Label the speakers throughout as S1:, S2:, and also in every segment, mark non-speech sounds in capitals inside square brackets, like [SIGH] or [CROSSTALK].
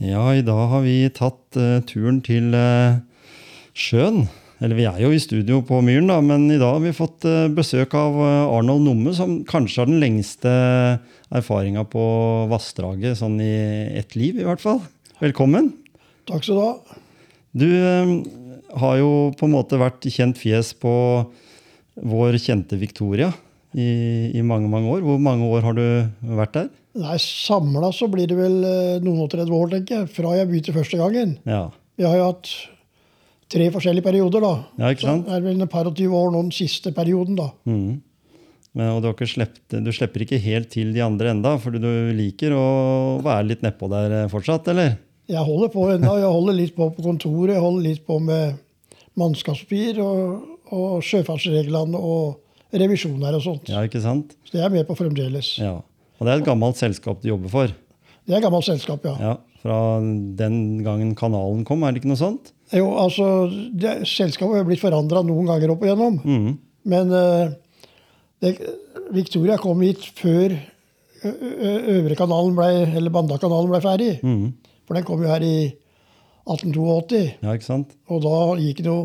S1: Ja, i dag har vi tatt eh, turen til eh, sjøen. Eller vi er jo i studio på Myren, da, men i dag har vi fått eh, besøk av eh, Arnold Numme, som kanskje har den lengste erfaringa på vassdraget, sånn i ett liv i hvert fall. Velkommen.
S2: Takk skal du ha.
S1: Du eh, har jo på en måte vært kjent fjes på vår kjente Victoria i, i mange, mange år. Hvor mange år har du vært der?
S2: Nei, Samla så blir det vel eh, noen og 30 år, tenker jeg, fra jeg begynte første gangen.
S1: Ja,
S2: Vi har jo hatt tre forskjellige perioder, da.
S1: ja ikke sant?
S2: Så er det vel en par og 20 år nå den siste perioden, da.
S1: Mhm. Men, og du, har ikke slept, du slipper ikke helt til de andre enda, fordi du liker å være litt nedpå der eh, fortsatt, eller?
S2: Jeg holder på ennå. Jeg holder litt på på kontoret, jeg holder litt på med mannskapspapir og, og sjøfartsreglene og revisjoner og sånt.
S1: Ja, ikke sant?
S2: Så det er jeg med på fremdeles.
S1: Ja. Og det er et gammelt selskap du jobber for.
S2: Det er gammelt selskap, ja.
S1: Ja, Fra den gangen kanalen kom, er det ikke noe sånt?
S2: Jo, altså, det, Selskapet har jo blitt forandra noen ganger opp igjennom.
S1: Mhm.
S2: Men eh, det, Victoria kom hit før ø- ø- øvre kanalen ble, eller Bandakanalen ble ferdig.
S1: Mhm.
S2: For den kom jo her i 1882.
S1: Ja, ikke sant?
S2: Og da gikk det jo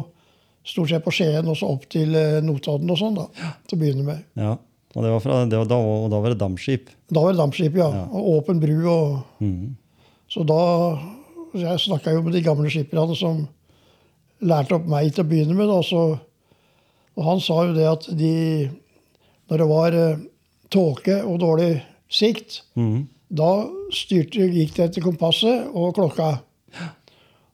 S2: stort sett på Skien og så opp til eh, Notodden og sånn, da. Til å begynne med.
S1: Ja. Og, det var fra, det var da, og da var det dampskip.
S2: Da var det dampskip, ja. Og åpen bru og
S1: Mhm.
S2: Så da Jeg snakka jo med de gamle skipperne som lærte opp meg til å begynne med. Da, så, og han sa jo det at de Når det var eh, tåke og dårlig sikt,
S1: Mhm.
S2: da styrte, gikk de etter kompasset og klokka.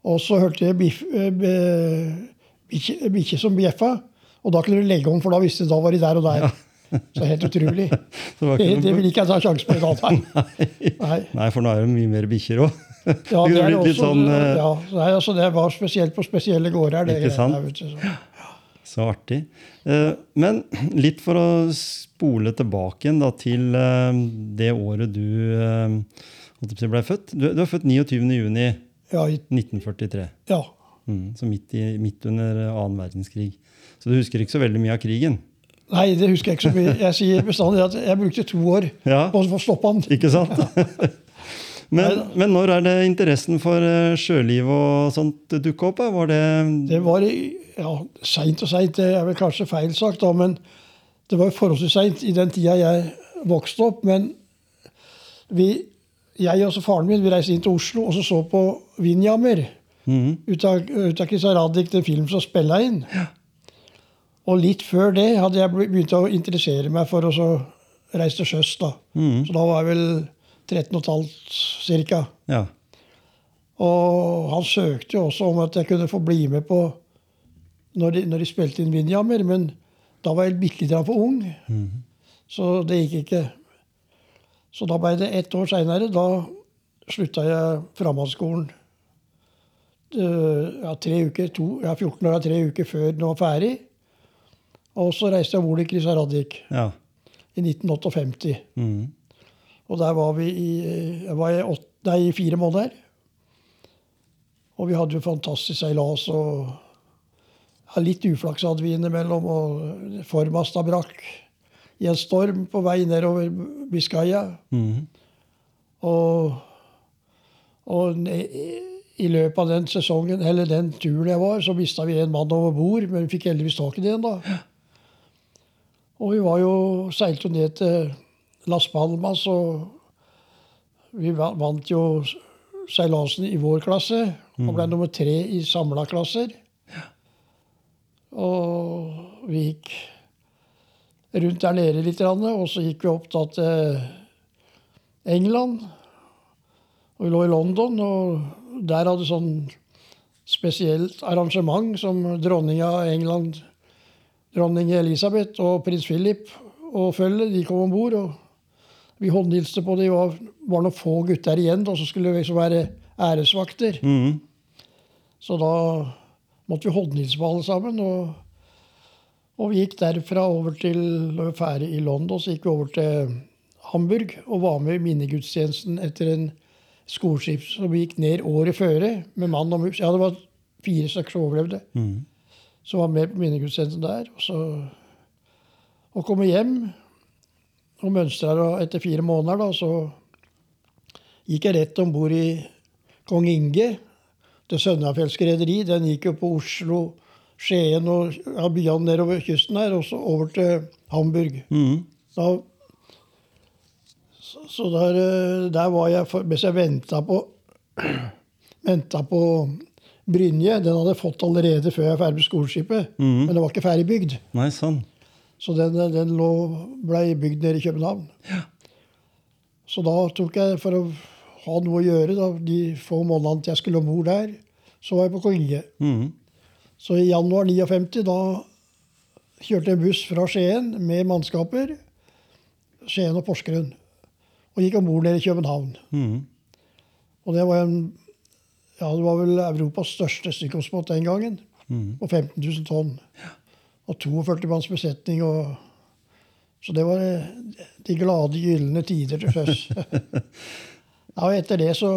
S2: Og så hørte jeg biff- eh, be- bikkje bikkje som bjeffa, og da kunne du legge om, for da visste de da var de der og der. Så helt utrolig.
S1: Så [LAUGHS] det var
S2: Det,
S1: ikke
S2: det
S1: noe...
S2: vil ikke jeg ta sjansen på i dag. nei. Nei.
S1: [LAUGHS] Nei, for nå er det mye mer bikkjer òg. [LAUGHS]
S2: Ja, det
S1: kunne
S2: er
S1: blitt litt
S2: også,
S1: sånn, eh,
S2: ja, nei, altså det var spesielt på spesielle gårder. Det,
S1: Ikke sant?
S2: greiene der, vet du, så.
S1: Så artig. Eh, Men litt for å spole tilbake igjen da, til eh, det året du eh, holdt jeg på å si, ble født. Du, du er født 29.6.1943,
S2: Ja, i- ja.
S1: mm, så midt, i, midt under annen verdenskrig. Så du husker ikke så veldig mye av krigen?
S2: Nei, det husker jeg ikke så mye. Jeg sier bestandig at jeg brukte to år
S1: Ja,
S2: på å få stoppa den.
S1: ikke sant? [LAUGHS] men, men når er det interessen for eh, sjøliv og sånt dukka opp? da? Var det
S2: Det var i- ja, seint og seint, det er vel kanskje feil sagt, da, men det var jo forholdsvis seint i den tida jeg vokste opp. Men vi, jeg og så faren min vi reiste inn til Oslo og så, så på Vindjammer.
S1: Mhm.
S2: Ut av, ut av Christian Radich, den filmen som spilla inn. Og litt før det hadde jeg be- begynt å interessere meg for å så reise til sjøs. da.
S1: Mhm.
S2: Så da var jeg vel 13 15 ca.
S1: Ja.
S2: Og han søkte jo også om at jeg kunne få bli med på når de, når de spilte inn Vindjammer, men da var jeg bitte lite grann for ung, så det gikk ikke. Så da ble det ett år seinere. Da slutta jeg framhandsskolen. Eh, Ja, tre uker, to, ja, 14 år og tre uker før den var ferdig. Og så reiste jeg om bord i Krisaraddik
S1: ja.
S2: i 1958.
S1: Mhm.
S2: Og der var vi i, jeg var i, åt, nei, i fire måneder. Og vi hadde jo fantastisk seilas. og ja, Litt uflaks hadde vi innimellom. og Formasta brakk i en storm på vei nedover Biscaya.
S1: Mhm.
S2: Og, og ne- i løpet av den sesongen, eller den turen jeg var, så mista vi en mann over bord, men vi fikk heldigvis tak i den da. Og vi var jo, seilte jo ned til Las Palmas, og vi va- vant jo seilasen i vår klasse. Og ble nummer tre i samla klasser. Og vi gikk rundt der nede litt, grann, og så gikk vi opp da til England. Og vi lå i London, og der hadde sånn spesielt arrangement som dronninga av England, dronning Elisabeth og prins Philip og følget, de kom om bord. Og Vi håndhilste på det. Det var, var noen få gutter igjen da, som skulle liksom være æresvakter.
S1: Mhm.
S2: Så da måtte vi håndhilse på alle sammen. Og, og vi gikk derfra over til Når vi var ferdig i London, så gikk vi over til Hamburg og var med i minnegudstjenesten etter en skoleskip som gikk ned året føre med mann og mus. Ja, det var fire stykker som overlevde.
S1: Mhm.
S2: Som var med på minnegudstjenesten der. Og så og komme hjem og mønstra og etter fire måneder, da, så gikk jeg rett om bord i Kong Inge til Sønnafjellske rederi. Den gikk jo på Oslo, Skien og ja, byene nedover kysten her, og så over til Hamburg.
S1: Mhm.
S2: Da, så så der, eh, der var jeg for, Mens jeg venta på [CLEARS THROAT] Venta på Brynje. Den hadde jeg fått allerede før jeg var ferdig med skoleskipet.
S1: Mhm.
S2: Men den var ikke ferdig bygd.
S1: Nei, sånn.
S2: Så den, eh, den lå, ble bygd nede i København. Så da tok jeg, for å ha noe å gjøre da, de få månedene til jeg skulle om bord der, så var jeg på Konge.
S1: Mhm.
S2: Så i januar 59 da kjørte jeg en buss fra Skien med mannskaper, Skien og Porsgrunn, og gikk om bord nede i København.
S1: Mhm.
S2: Og det var en ja, det var vel Europas største stykkomsbåt den gangen.
S1: Mhm.
S2: På 15 000 tonn. Og 42 manns besetning. Og, så det var eh, de glade, gylne tider til sjøs. ja, og etter det så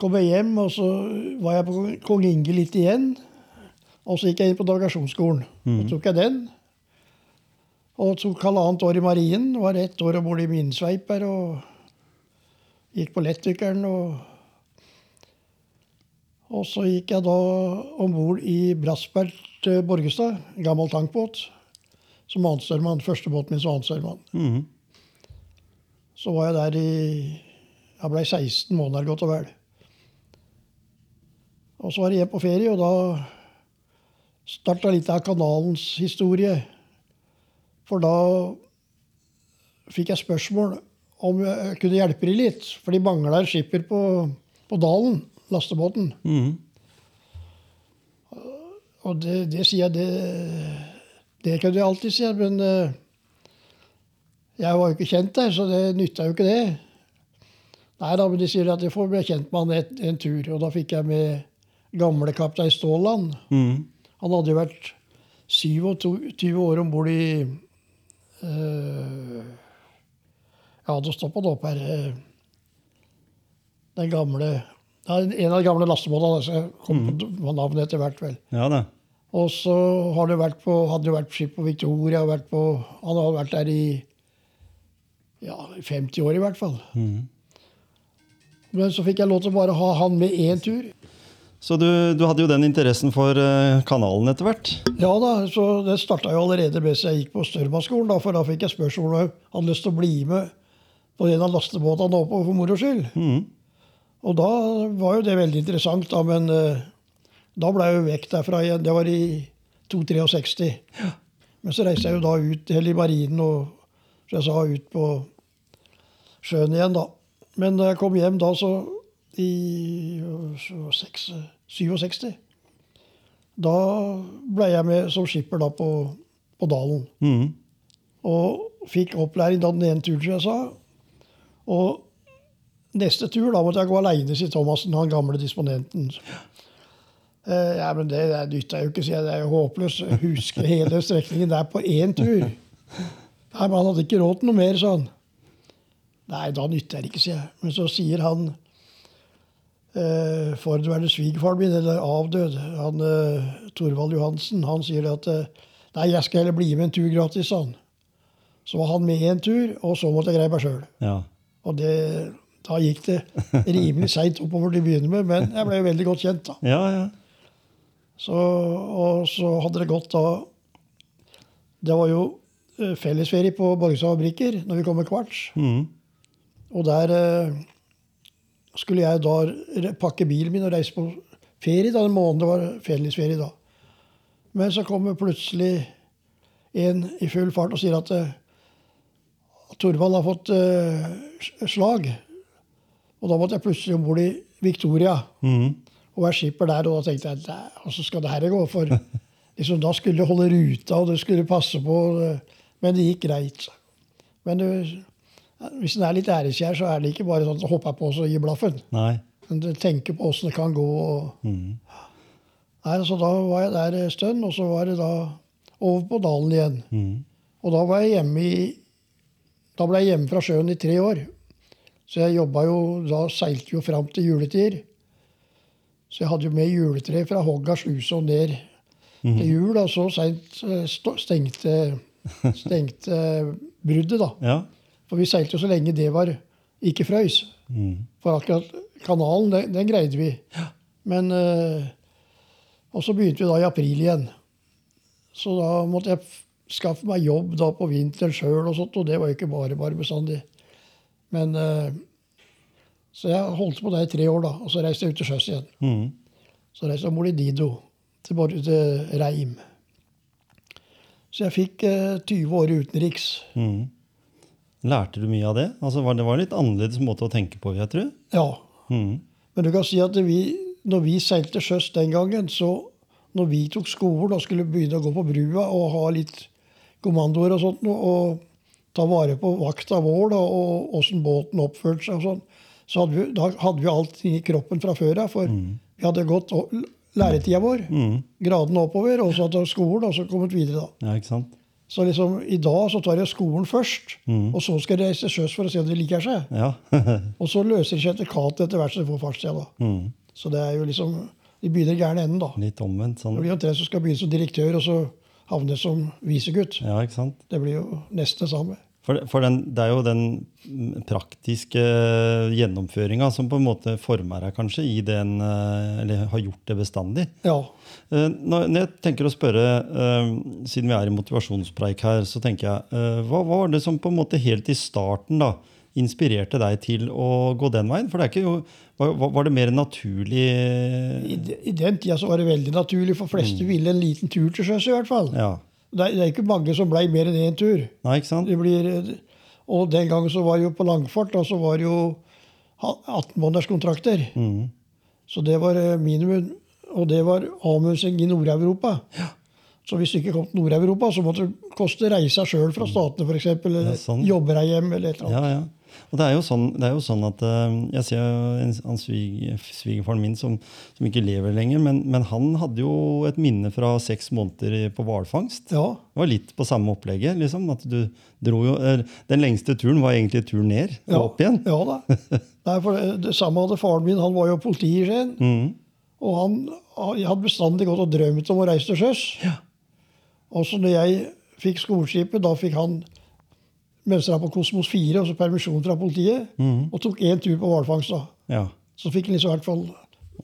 S2: kom jeg hjem, og så var jeg på Kong Inge litt igjen. Og så gikk jeg inn på navigasjonsskolen. Så tok jeg den. Og tok halvannet år i marinen. Var ett år om bord i minesveiper. og gikk på lettdykkeren. Og, og så gikk jeg da om bord i Brassberg til Borgestad, en gammel tankbåt, som annenstørmann. Første båten min som annenstørmann.
S1: Mhm.
S2: Så var jeg der i Jeg blei 16 måneder, godt og vel. Og så var jeg hjem på ferie, og da starta litt av kanalens historie. For da fikk jeg spørsmål om jeg kunne hjelpe dem litt. For de mangla en skipper på, på Dalen, lastebåten.
S1: Mhm.
S2: Og det, det sier jeg det, det kunne jeg alltid si, men eh, jeg var jo ikke kjent der, så det nytta jo ikke det. Nei da, men de sier at jeg får bli kjent med han et, en tur. Og da fikk jeg med gamle kaptein Ståland.
S1: Mhm.
S2: Han hadde jo vært 27 år om bord i eh, Ja, det står på det opp her. eh, den gamle ja, En av de gamle lastebåtene. altså, Jeg kom på navnet etter hvert, vel.
S1: Ja da.
S2: Og så har det vært på, hadde det vært skip på Victoria. og Vært på, han har vært der i ja, 50 år i hvert fall.
S1: Mhm.
S2: Men så fikk jeg lov til å bare ha han med én tur.
S1: Så du, du hadde jo den interessen for eh, kanalen etter hvert?
S2: Ja da, så Det starta jo allerede mens jeg gikk på Størmaskolen, da, for da fikk jeg spørsmål om jeg hadde lyst til å bli med på en av lastebåtene oppover for moro skyld.
S1: Mhm.
S2: Og da var jo det veldig interessant, da, men eh, da ble jeg jo vekk derfra igjen. Det var i 263. Men så reiste jeg jo da ut til i marinen og som jeg sa, ut på sjøen igjen, da. Men da jeg kom hjem da, så i eh, så seks- 67 Da ble jeg med som skipper da på, på Dalen.
S1: Mhm.
S2: Og fikk opplæring da den ene turen, som jeg sa. Og neste tur da måtte jeg gå aleine, sier Thomassen, han gamle disponenten. Eh, ja, men det det nytta jo ikke, sier jeg. Det er jo håpløst. Jeg Husker hele strekningen der på én tur. Nei, men han hadde ikke råd til noe mer, sa han. Nei, da nytter det ikke, sier jeg. Men så sier han eh, forhenværende svigerfaren min, eller avdød, han eh, Torvald Johansen, han sier at eh, nei, jeg skal heller bli med en tur gratis, sa han. Så var han med en tur, og så måtte jeg greie meg sjøl.
S1: Ja.
S2: Og det, da gikk det rimelig seint oppover til å begynne med, men jeg ble jo veldig godt kjent, da.
S1: Ja, ja.
S2: Så, og så hadde det gått da Det var jo eh, fellesferie på Borgestad fabrikker når vi kom med kvarts.
S1: Mhm.
S2: Og der eh, skulle jeg da re- pakke bilen min og reise på ferie. da, En måned var fellesferie da. Men så kommer plutselig en i full fart og sier at eh, Torvald har fått eh, s- slag. Og da måtte jeg plutselig om bord i Victoria
S1: Mhm.
S2: og være skipper der. Og da tenkte jeg "Nei, hvordan skal det her gå? For liksom, da skulle jeg holde ruta, og det skulle passe på. eh, Men det gikk greit. Men det, Hvis en er litt æreskjær, så er det ikke bare sånn at en hopper på og gir blaffen.
S1: Nei. Mm-hmm.
S2: Men du tenker på åssen det kan gå. Og... Nei, så da var jeg der en stund, og så var det da over på dalen igjen.
S1: Mhm.
S2: Og da var jeg hjemme i Da ble jeg hjemme fra sjøen i tre år. Så jeg jobba jo Da seilte jo fram til juletider. Så jeg hadde jo med juletre fra Hogga sluse og ned til jul. Og så seint eh, sto- stengte, stengte bruddet, da.
S1: Ja.
S2: For vi seilte jo så lenge det var ikke frøys.
S1: Mhm.
S2: For akkurat kanalen, den, den greide vi. Men eh, Og så begynte vi da i april igjen. Så da måtte jeg f- skaffe meg jobb da på vinteren sjøl, og sånt, og det var jo ikke bare bare bestandig. Men eh, Så jeg holdt på der i tre år, da, og så reiste jeg ut til sjøs igjen.
S1: Mhm.
S2: Så reiste jeg til Molidido, til, Bor- til Reim. Så jeg fikk eh, 20 år utenriks.
S1: Mhm. Lærte du mye av det? Altså, var, det var litt annerledes måte å tenke på, vil jeg tro.
S2: Ja,
S1: Mhm.
S2: Men du kan si at vi, når vi seilte sjøs den gangen, så når vi tok skolen og skulle begynne å gå på brua og ha litt kommandoer og sånt, noe, og ta vare på vakta vår da, og åssen båten oppførte seg og sånn, så hadde vi, da hadde vi allting i kroppen fra før av. For vi hadde gått å- læretida vår, gradene oppover, og så hadde vi skolen, og så kommet videre. da.
S1: Ja, ikke sant?
S2: Så liksom, i dag så tar jeg skolen først, og så skal jeg reise sjøs for å se om det liker seg.
S1: Ja. [LAUGHS]
S2: Og så løser de seg etter katet etter hvert som de får fartstid. da.
S1: Mhm.
S2: Så det er jo liksom De begynner i gæren enden, da.
S1: Litt omvendt sånn.
S2: Det blir omtrent som skal begynne som direktør, og så havne som visegutt.
S1: Ja, ikke sant?
S2: Det blir jo nesten det samme.
S1: For, for den, det er jo den mm, praktiske gjennomføringa som på en måte former deg kanskje i den eh, Eller har gjort det bestandig.
S2: Ja.
S1: Eh, Når når jeg tenker å spørre, eh, siden vi er i motivasjonspreik her, så tenker jeg eh, hva, hva var det som på en måte helt i starten da inspirerte deg til å gå den veien? For det er ikke jo Var, var- var det mer
S2: I,
S1: naturlig
S2: de- I den tida så var det veldig naturlig, for fleste ville en liten tur til sjøs, i hvert fall.
S1: Mm. Ja.
S2: Det, er, det er ikke mange som blei mer enn én tur.
S1: Nei, ikke sant?
S2: Det blir, og den gangen så var det jo på Langfort, da, så var det jo ha- 18-månederskontrakter.
S1: Mhm.
S2: Så det var eh, minimum. Og det var avmusing i Nord-Europa. Så hvis du ikke kom til Nord-Europa, så måtte det koste reisa sjøl fra statene, f.eks. Eller
S1: Ja, sånn.
S2: jobbe deg hjem, eller et eller annet.
S1: Ja, ja. Og det er jo sånn, det er jo sånn at eh, jeg ser jo en, han svig, svigerfaren min som, som ikke lever lenger, men, men han hadde jo et minne fra seks måneder i- på hvalfangst.
S2: Ja.
S1: Det var litt på samme opplegget. liksom, at du dro jo, eller, Den lengste turen var egentlig turen ned og
S2: ja.
S1: opp igjen.
S2: Ja da. Nei, for det, det samme hadde faren min. Han var jo politi i Skien.
S1: Mhm.
S2: Og han, han jeg hadde bestandig gått og drømt om å reise til sjøs. Og så når jeg fikk skoleskipet, da fikk han mønstra på Kosmos 4, og så permisjon fra politiet,
S1: Mm.
S2: og tok én tur på hvalfangst. da.
S1: Ja.
S2: Så fikk han liksom i hvert fall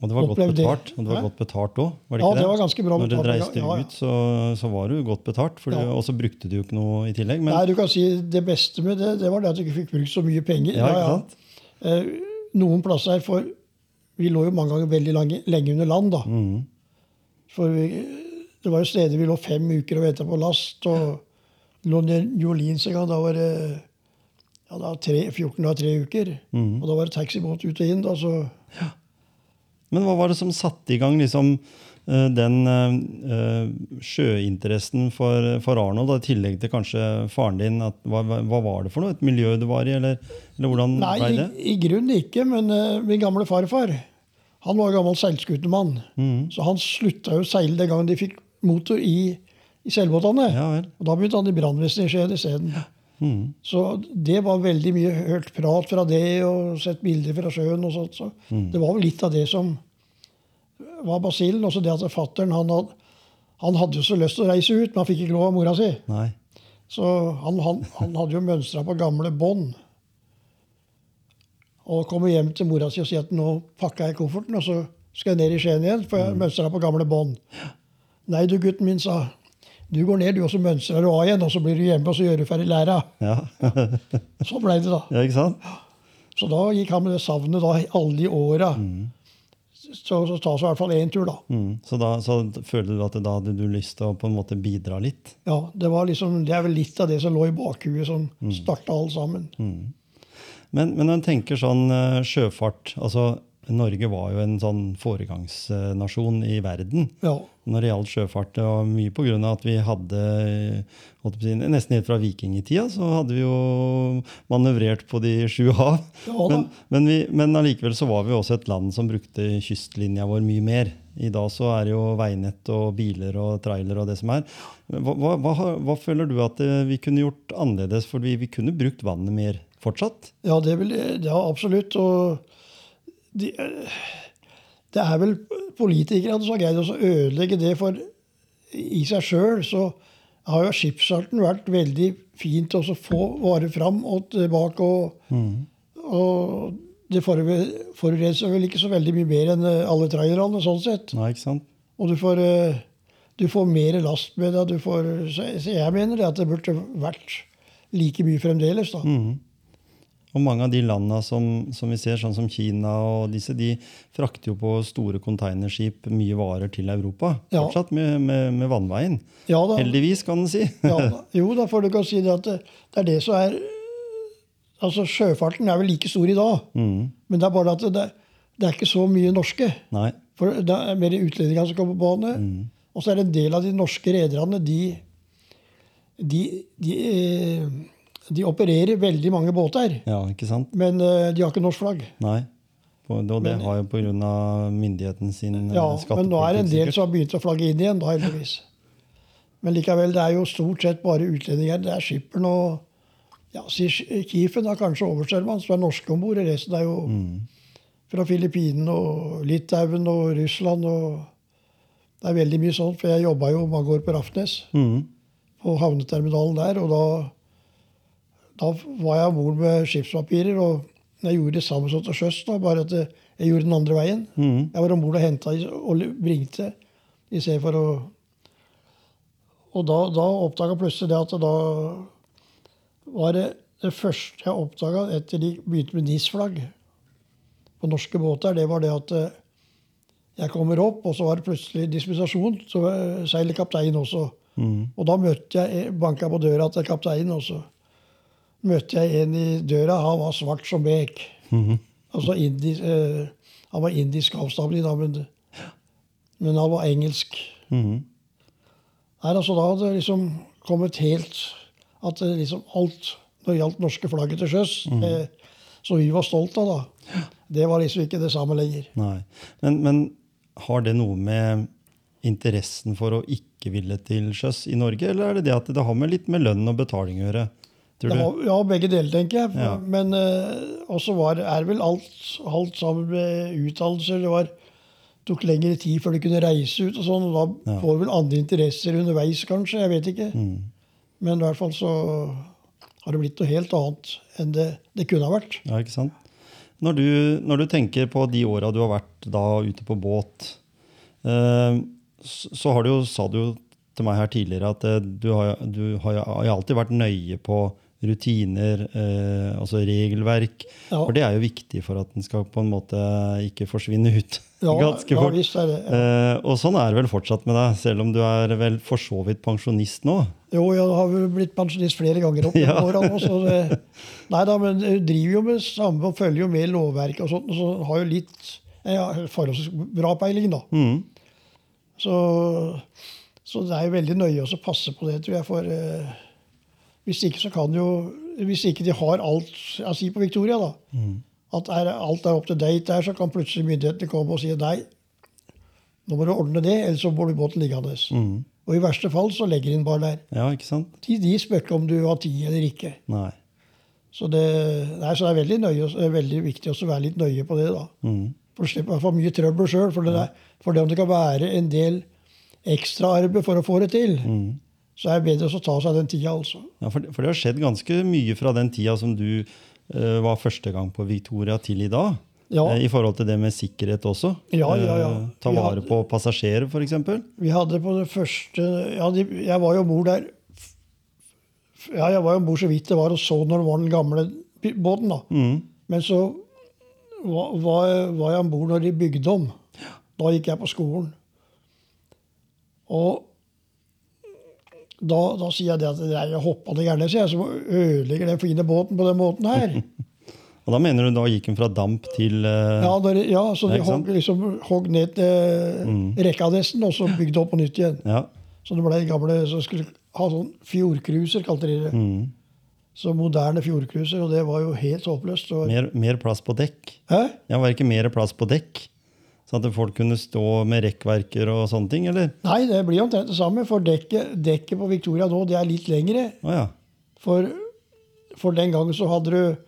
S1: Og det var godt
S2: Opplevde det.
S1: betalt. Og det var
S2: Hæ?
S1: godt betalt òg. Var det
S2: Ja,
S1: ikke
S2: det var ganske bra
S1: Når du
S2: betalt, ja,
S1: reiste
S2: ja, ja.
S1: ut, så, så var du godt betalt, for du,
S2: Ja.
S1: og så brukte du jo ikke noe i tillegg. Men,
S2: Nei, du kan si Det beste med det det var det at du ikke fikk brukt så mye penger.
S1: ja, ikke sant?
S2: Eh, Noen plasser, for vi lå jo mange ganger veldig lange, lenge under land. da.
S1: Mhm.
S2: For vi, det var jo steder vi lå fem uker og venta på last. og lå ned i New Orleans en gang. Da var det ja, da tre, 14 av tre uker. Og da var det taxibåt ut og inn. da, så...
S1: Men hva var det som satte i gang liksom, eh, den eh, eh, sjøinteressen for, for Arnold, da, i tillegg til kanskje faren din? At, hva, hva hva var det for noe? Et miljø du var i, eller, eller hvordan
S2: Nei,
S1: ble
S2: i,
S1: det?
S2: i grunnen ikke. Men eh, min gamle farfar han var gammel seilskutemann.
S1: Mm.
S2: Så han slutta jo å seile den gangen de fikk motor i, i seilbåtene.
S1: Ja vel.
S2: Og da begynte han i brannvesenet i Skien isteden.
S1: Mhm.
S2: Så det var veldig mye hørt prat fra det og sett bilder fra sjøen. og sånt. Så
S1: Mm.
S2: Det var vel litt av det som var basillen. Også det at fattern han, had- han hadde jo så lyst til å reise ut, men han fikk ikke lov av mora si.
S1: Nei.
S2: Så han, han, han hadde jo mønstra på gamle bånd. Og kommer hjem til mora si og sier at nå pakka jeg kofferten, og så skal jeg ned i Skien igjen, for jeg mønstra på gamle bånd. Nei du, gutten min, sa Du går ned, du, og så mønstrer du av igjen, og så blir du hjemme, og så gjør du ferdig læra.
S1: Ja. [LAUGHS]
S2: Så blei det, da.
S1: ja, ikke sant?
S2: Så da gikk han med det savnet da, i alle de åra. Så, så tas i hvert fall én tur, da.
S1: Mhm. Så da så følte du at da hadde du lyst til å på en måte bidra litt?
S2: Ja, Det var liksom, det er vel litt av det som lå i bakhuet, som
S1: Mm.
S2: starta alt sammen.
S1: Men, men når en tenker sånn eh, sjøfart altså Norge var jo en sånn foregangsnasjon i verden
S2: Ja.
S1: når det gjaldt sjøfart. Og mye på grunn av at vi hadde holdt på å si, Nesten helt fra vikingtida så hadde vi jo manøvrert på de sju hav.
S2: Ja da.
S1: men, men, vi, men allikevel så var vi også et land som brukte kystlinja vår mye mer. I dag så er det jo veinett og biler og trailer og det som er. Hva, hva, hva, har- hva føler du at eh, vi kunne gjort annerledes? For vi, vi kunne brukt vannet mer fortsatt.
S2: Ja, det vil, ja absolutt. Og de, det er vel politikerne som har greid å ødelegge det, for i seg sjøl så har jo skipsfarten vært veldig fint å så få varer fram og tilbake. Og, og det foru- forurenser vel ikke så veldig mye mer enn eh, alle trailerne, sånn sett.
S1: Nei, ikke sant?
S2: Og du får, eh, du får mer last med deg. Du får, så, så jeg mener det at det burde vært like mye fremdeles, da.
S1: Mhm. Og mange av de landene som, som vi ser, sånn som Kina og disse, de frakter jo på store containerskip mye varer til Europa.
S2: Ja.
S1: Fortsatt med, med, med vannveien.
S2: Ja da.
S1: Heldigvis, kan en si.
S2: Ja, da. jo da, for du kan si det at det, det er det som er Altså, sjøfarten er vel like stor i dag,
S1: Mhm.
S2: men det er bare at det, det er ikke så mye norske.
S1: [LAUGHS] Nei.
S2: For det er mer utlendinger som kommer på bane. Og så er det en del av de norske rederne, de de, de, eh, de opererer veldig mange båter,
S1: Ja, ikke sant?
S2: men eh, de har ikke norsk flagg.
S1: Nei. På- Og det
S2: Men-
S1: har jo på grunn av myndigheten sin eh,
S2: Ja, men nå er det en
S1: skattepolitikk,
S2: del som har begynt å flagge inn igjen, da, heldigvis. Men likevel, det er jo stort sett bare utlendinger. Det er skipperen og ja, si Sk- Kifen er kanskje overstyrmann, som er norske om bord. Resten er jo fra Filippinene og Litauen og Russland og Det er veldig mye sånt, for jeg jobba jo mange år på Rafnes,
S1: sikkert. Mhm.
S2: på havneterminalen der, og da, da var jeg om bord med skipspapirer. Og jeg gjorde det samme som til sjøs, da, bare at jeg gjorde den andre veien.
S1: Mhm.
S2: Jeg var om bord og henta og bringte i stedet for å Og da, da oppdaga plutselig det at da var det det første jeg oppdaga etter de begynte med NIS-flagg på norske båter, det var det at eh, jeg kommer opp, og så var det plutselig dispensasjon. Så eh, seiler kapteinen også.
S1: Mhm.
S2: Og da møtte jeg, banka jeg på døra til kapteinen, og så møtte jeg en i døra. Han var svart som bek.
S1: Mhm.
S2: Altså indi, eh, han var indisk avstamning, da, men, men han var engelsk.
S1: Mhm.
S2: Nei, altså Da hadde det liksom kommet helt At det liksom alt når det gjaldt norske flagget til sjøs, eh, som vi var stolt av, da, det var liksom ikke det samme lenger.
S1: Nei. Men, men har det noe med interessen for å ikke ville til sjøs i Norge, eller er det det at det har med litt med lønn og betaling å gjøre? Tror
S2: Det
S1: du?
S2: var, ja, begge deler, tenker jeg.
S1: Ja.
S2: Men eh, også var, er vel alt, alt sammen med utdannelser. Det var, tok lengre tid før du kunne reise ut og sånn. Og da
S1: Ja. Mm.
S2: får du vel andre interesser underveis, kanskje. Jeg vet ikke. Men i hvert fall så har det blitt noe helt annet enn det, det kunne ha vært.
S1: Ja, ikke sant? Når du, når du tenker på de åra du har vært da ute på båt, eh, s- så har du jo, sa du jo til meg her tidligere at eh, du har, du har jo har jo alltid vært nøye på rutiner, eh, altså regelverk.
S2: Ja.
S1: For det er jo viktig for at den skal på en måte ikke forsvinne ut
S2: Ja,
S1: ganske
S2: ja
S1: fort.
S2: visst er det.
S1: Eh, og sånn er det vel fortsatt med deg, selv om du er vel for så vidt pensjonist nå.
S2: Jo, jeg har vel blitt pensjonist flere ganger opp
S1: Ja.
S2: gjennom åra nå. Så det, nei da, men jeg driver jo med samme og følger jo med lovverket og sånt, og så har jo litt jeg har forholdsvis bra peiling, da.
S1: Mhm.
S2: Så, så det er jo veldig nøye å passe på det, tror jeg. For eh, hvis ikke så kan jo Hvis ikke de har alt Jeg sier på Victoria, da. At er, alt er up to date der, så kan plutselig myndighetene komme og si nei. Nå må du ordne det, ellers så får du båten liggende.
S1: Mhm.
S2: Og i verste fall så legger de den bare der.
S1: Ja, ikke sant?
S2: De, de spør ikke om du har tid eller ikke.
S1: Nei.
S2: Så det, nei, så det er veldig, nøye, det er veldig viktig også å være litt nøye på det. da.
S1: Mhm.
S2: For å slippe å få mye trøbbel sjøl. For, det er- for det om det kan være en del ekstraarbeid for å få det til,
S1: Mhm.
S2: så er det bedre å ta seg den tida, altså.
S1: Ja, for, det- for det har skjedd ganske mye fra den tida som du eh, var første gang på Victoria, til i dag.
S2: Ja.
S1: Eh, I forhold til det med sikkerhet også.
S2: Ja, ja, ja.
S1: Eh, ta
S2: Vi
S1: vare
S2: hadde-
S1: på passasjerer, f.eks.
S2: Vi hadde på det første ja, de, Jeg var jo om bord der f- f- Ja, jeg var jo om bord så vidt det var, og så når det var den gamle bi- båten, da.
S1: Mm.
S2: Men så var, var, var jeg om bord når de bygde om. Da gikk jeg på skolen. Og da,
S1: [LAUGHS]
S2: da sier jeg det at det er jeg hoppa det gærne, sier jeg, som ødelegger den fine båten på den måten her.
S1: Og da mener du da gikk den fra damp til eh,
S2: Ja, når, ja så de
S1: Ikke sant? Mm.
S2: hogg, liksom, hogg ned eh, rekkadessen og så bygde opp på nytt igjen.
S1: ja.
S2: Så det ble gamle som skulle ha sånn fjordcruiser, kalte de det.
S1: Mm.
S2: Så moderne fjordcruiser, og det var jo helt håpløst. Og,
S1: Mer, mer plass på dekk.
S2: Hæ?
S1: Ja, Var det ikke mer plass på dekk? Sånn at folk kunne stå med rekkverker og sånne ting, eller?
S2: Nei, det blir omtrent det samme, for dekket, dekket på Victoria nå det er litt lengre.
S1: Å ja.
S2: For, for den gangen så hadde du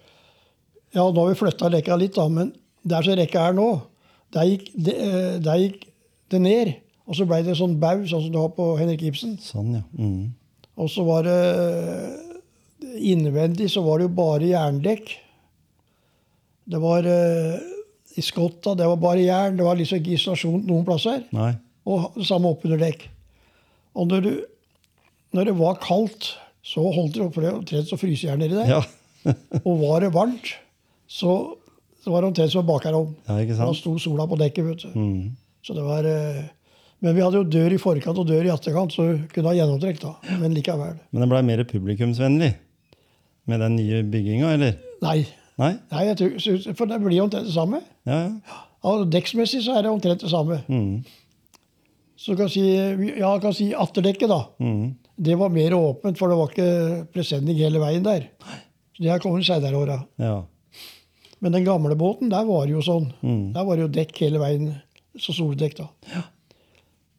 S2: Ja, nå har vi flytta rekka litt, da, men der som rekka er nå, der gikk det, eh, der gikk det ned. Og så blei det sånn bau, sånn som du har på Henrik Ibsen.
S1: Sånn, ja. Mm.
S2: Og så var det Innvendig så var det jo bare jerndekk. Det var eh, I skotta, det var bare jern. Det var liksom ikke isolasjon noen plasser.
S1: Nei.
S2: Og det samme oppunder dekk. Og når, du, når det var kaldt, så holdt det opp- omtrent som frysejern nedi der.
S1: Ja.
S2: Og var det varmt, så så var det omtrent som en bakerom.
S1: ja, ikke
S2: Da
S1: sant?
S2: sto sola på dekket. vet du.
S1: Mm.
S2: Så det var... eh, Men vi hadde jo dør i forkant og dør i etterkant, så vi kunne ha gjennomtrekk. da. Men likevel.
S1: Men det blei mer publikumsvennlig med den nye bygginga, eller?
S2: Nei.
S1: Nei?
S2: Nei, jeg tror, synes- for det blir jo omtrent det samme.
S1: Ja, ja.
S2: Og dekksmessig så er det omtrent det samme.
S1: Mm.
S2: Så du kan si, ja, jeg kan si atterdekket, da.
S1: Mm.
S2: Det var mer åpent, for det var ikke presenning hele veien der. Så det har kommet senere åra.
S1: Ja.
S2: Men den gamle båten, der var det jo sånn.
S1: Mm.
S2: Der var det jo dekk hele veien. Så soldekk, da.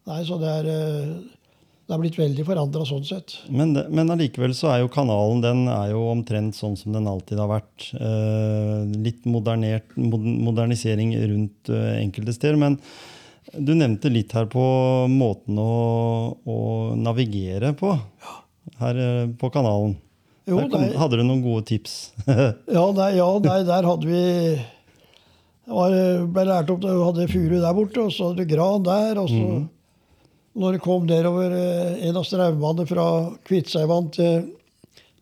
S2: Nei, så det er eh, Det er blitt veldig forandra sånn sett.
S1: Men, det, men allikevel så er jo kanalen den er jo omtrent sånn som den alltid har vært. Eh, litt modernert, mod, modernisering rundt eh, enkelte steder. Men du nevnte litt her på måten å, å navigere på her eh, på kanalen.
S2: Jo,
S1: Der kom,
S2: det er-
S1: hadde du noen gode tips? [LAUGHS]
S2: Ja, nei, ja, nei der hadde vi det var, ble lært opp, Du hadde furu der borte, og så hadde du gran der. og så Når det kom nedover eh, en av straumene fra Kviteseidvann til,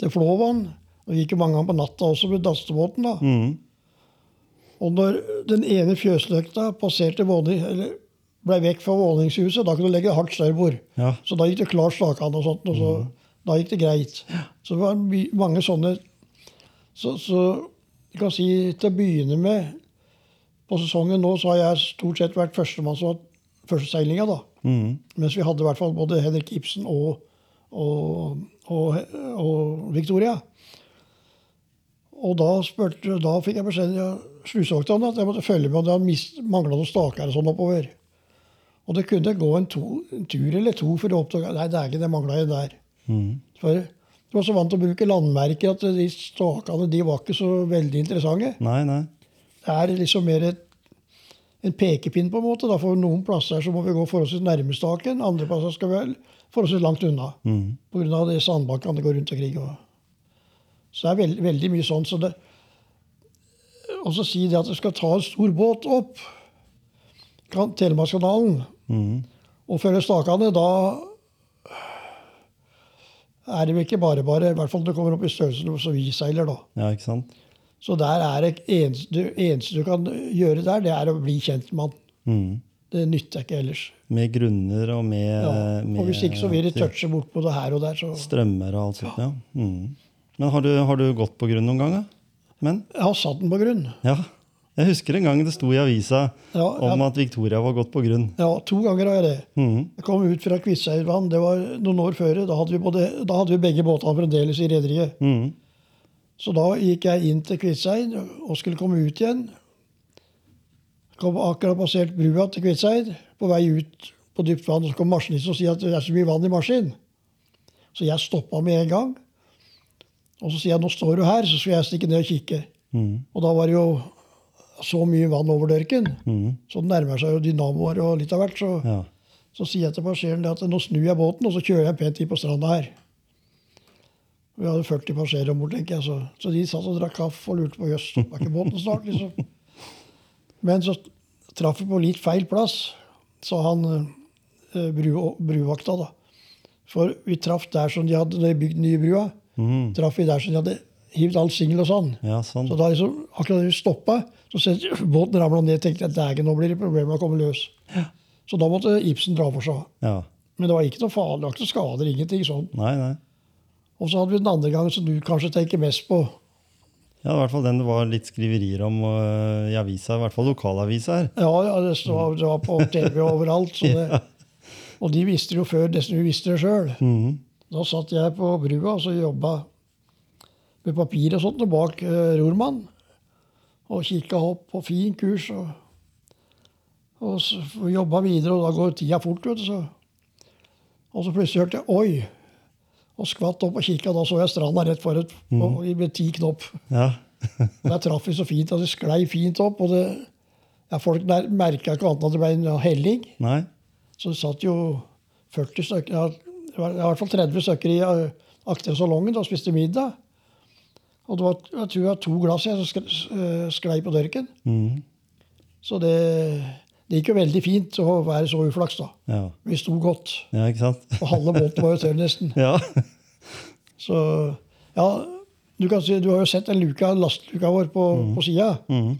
S2: til Flåvann Det gikk jo mange ganger på natta også med dastebåten. da.
S1: mm.
S2: Og når den ene fjøsløkta passerte våning, eller ble vekk fra våningshuset, da kunne du legge hardt størbord.
S1: Ja.
S2: Så da gikk det klart slakan og sånt, og så, da gikk det greit. Så det var my mange sånne Så, så jeg kan si til å begynne med På sesongen nå så har jeg stort sett vært førstemann som har hatt førsteseilinga, da.
S1: Mm.
S2: Mens vi hadde i hvert fall både Henrik Ibsen og, og, og, og Victoria. Og da, spurte, da fikk jeg beskjed av slusevokterne at jeg måtte følge med om det hadde mangla noen staker og sånn oppover. Og det kunne gå en, to, en tur eller to for å oppdage Nei, det er ikke det mangla en der.
S1: Mm.
S2: For du var så vant til å bruke landmerker at de stakene de var ikke så veldig interessante.
S1: Nei, nei.
S2: Det er liksom mer et, en pekepinn, på en måte. Da. For noen plasser så må vi gå forholdsvis nærme staken, andre plasser skal vi være forholdsvis langt unna.
S1: Mm.
S2: Pga. de sandbankene det går rundt omkring. Og. Så det er veld, veldig mye sånn. Så det, og så si det at du skal ta en stor båt opp kan- Telemarkskanalen
S1: Mm.
S2: og følge stakene, da er det vel ikke bare bare. I hvert fall når du kommer opp i størrelsen som vi seiler, da.
S1: Ja, ikke sant?
S2: Så der er det eneste, det eneste du kan gjøre der, det er å bli kjent med han.
S1: Mm.
S2: Det nytter ikke ellers.
S1: Med grunner og med,
S2: Ja. Og
S1: med
S2: hvis ikke så vil de touche bortpå det her og der. Så.
S1: Strømmer og alt sånt, ja. Mm. Men har du, har du gått på grunn noen gang, da? Men,
S2: Jeg har satt den på grunn.
S1: ja. Jeg husker en gang det sto i avisa
S2: Ja,
S1: om
S2: ja,
S1: at Victoria var gått på grunn.
S2: ja, to ganger har jeg det.
S1: Mm.
S2: Jeg kom ut fra Kviteseidvann, det var noen år før. Da hadde vi, både, da hadde vi begge båtene fremdeles i rederiet.
S1: Mm.
S2: Så da gikk jeg inn til Kviteseid og skulle komme ut igjen. Kom akkurat passert brua til Kviteseid, på vei ut på dypt vann. Så kom maskinisten og sier at det er så mye vann i maskinen. Så jeg stoppa med en gang. Og så sier jeg nå står du her, så skal jeg stikke ned og kikke.
S1: Mm.
S2: Og da var det jo så mye vann over dørken.
S1: Mm.
S2: Så det nærmer seg jo dynamoer og litt av hvert. Så
S1: Ja.
S2: så sier jeg til passasjeren det at nå snur jeg båten, og så kjører jeg pent inn på stranda her. Vi hadde 40 passasjerer om bord, tenker jeg. Så, så de satt og drakk kaffe og lurte på jøss, var ikke båten snart, liksom. Men så traff vi på litt feil plass, sa han eh, bru, bruvakta, da. For vi traff der som de hadde når de bygde den nye brua.
S1: Mm.
S2: Traff vi der som de hadde hivd all singel og sånn.
S1: ja, sånn.
S2: Så da liksom, akkurat da vi stoppa, så ser- båten ramla ned. tenkte jeg at nå blir det problemer med å komme løs. Så da måtte Ibsen dra for seg.
S1: Ja.
S2: Men det var ikke noe farlig, det var ikke noe skader, ingenting sånn.
S1: Nei, nei.
S2: Og så hadde vi den andre gangen som du kanskje tenker mest på.
S1: Ja, det var i hvert fall den det var litt skriverier om øh, i avisa, i hvert fall lokalaviser.
S2: Ja, ja det, stod, det var på TV overalt. Så det, Og de visste det jo før nesten vi visste det sjøl. Da satt jeg på brua og så jobba med papir og sånt og bak eh, rormann. Og kikka opp på fin kurs. Og, og så jobba videre, og da går tida fort. vet du. Så. Og så plutselig hørte jeg 'oi', og skvatt opp og kikka. Da så jeg stranda rett forut på- i- med ti knop.
S1: Ja.
S2: Der traff vi så fint, og det sklei fint opp. og det, ja, Folk merka ikke annet enn at det ble en helling.
S1: Nei?
S2: Så det satt jo 40 stykker, ja, det var i hvert fall 30 stykker i eh, akter salongen da, og spiste middag. Og det var jeg tror jeg var to glass jeg som sk- s- eh, sklei på dørken.
S1: Mhm.
S2: Så det, det gikk jo veldig fint å være så uflaks, da.
S1: Ja.
S2: Vi sto godt.
S1: ja, ikke sant? [LAUGHS]
S2: Og halve båten var jo tørr, nesten.
S1: Ja.
S2: Så ja, du kan si, du har jo sett den luka, lastluka vår på, på sida.
S1: Mhm.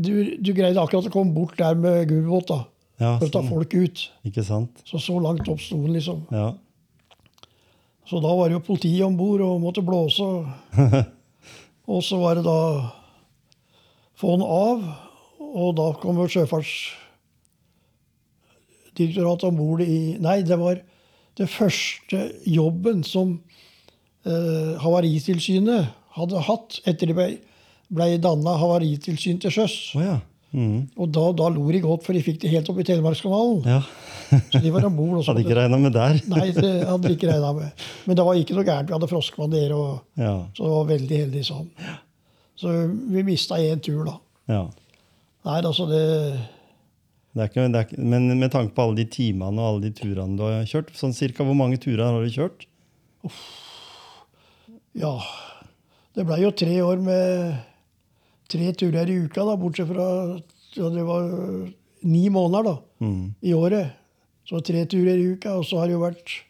S2: Du, du greide akkurat å komme bort der med gummibåt da,
S1: ja
S2: for å ta
S1: sånn.
S2: folk ut.
S1: Ikke sant?
S2: Så så langt opp sto den, liksom.
S1: Ja.
S2: Så da var det jo politiet om bord og måtte
S1: [LAUGHS]
S2: blåse. og så var det da få den av, og da kom jo Sjøfartsdirektoratet om bord i Nei, det var det første jobben som eh, Havaritilsynet hadde hatt etter de ble, ble danna havaritilsyn til sjøs.
S1: Å ja. Mhm.
S2: Og da, da lo de godt, for de fikk det helt opp i Telemarkskanalen.
S1: Ja.
S2: Så de var om bord.
S1: [LAUGHS] Hadde ikke regna med der.
S2: Nei, det hadde vi ikke regna med. Men det var ikke noe gærent. Vi hadde froskebaner, og
S1: Ja.
S2: så det var veldig heldig sånn. Så vi mista én tur, da.
S1: ja.
S2: Nei, altså det
S1: Det er ikke, det er ikke, men med tanke på alle de timene og alle de turene du har kjørt, sånn cirka hvor mange turer har du kjørt?
S2: Ja. Det blei jo tre år med tre turer i uka, da, bortsett fra ja, det var ni måneder da,
S1: Mhm.
S2: i året. Så tre turer i uka, og så har det jo vært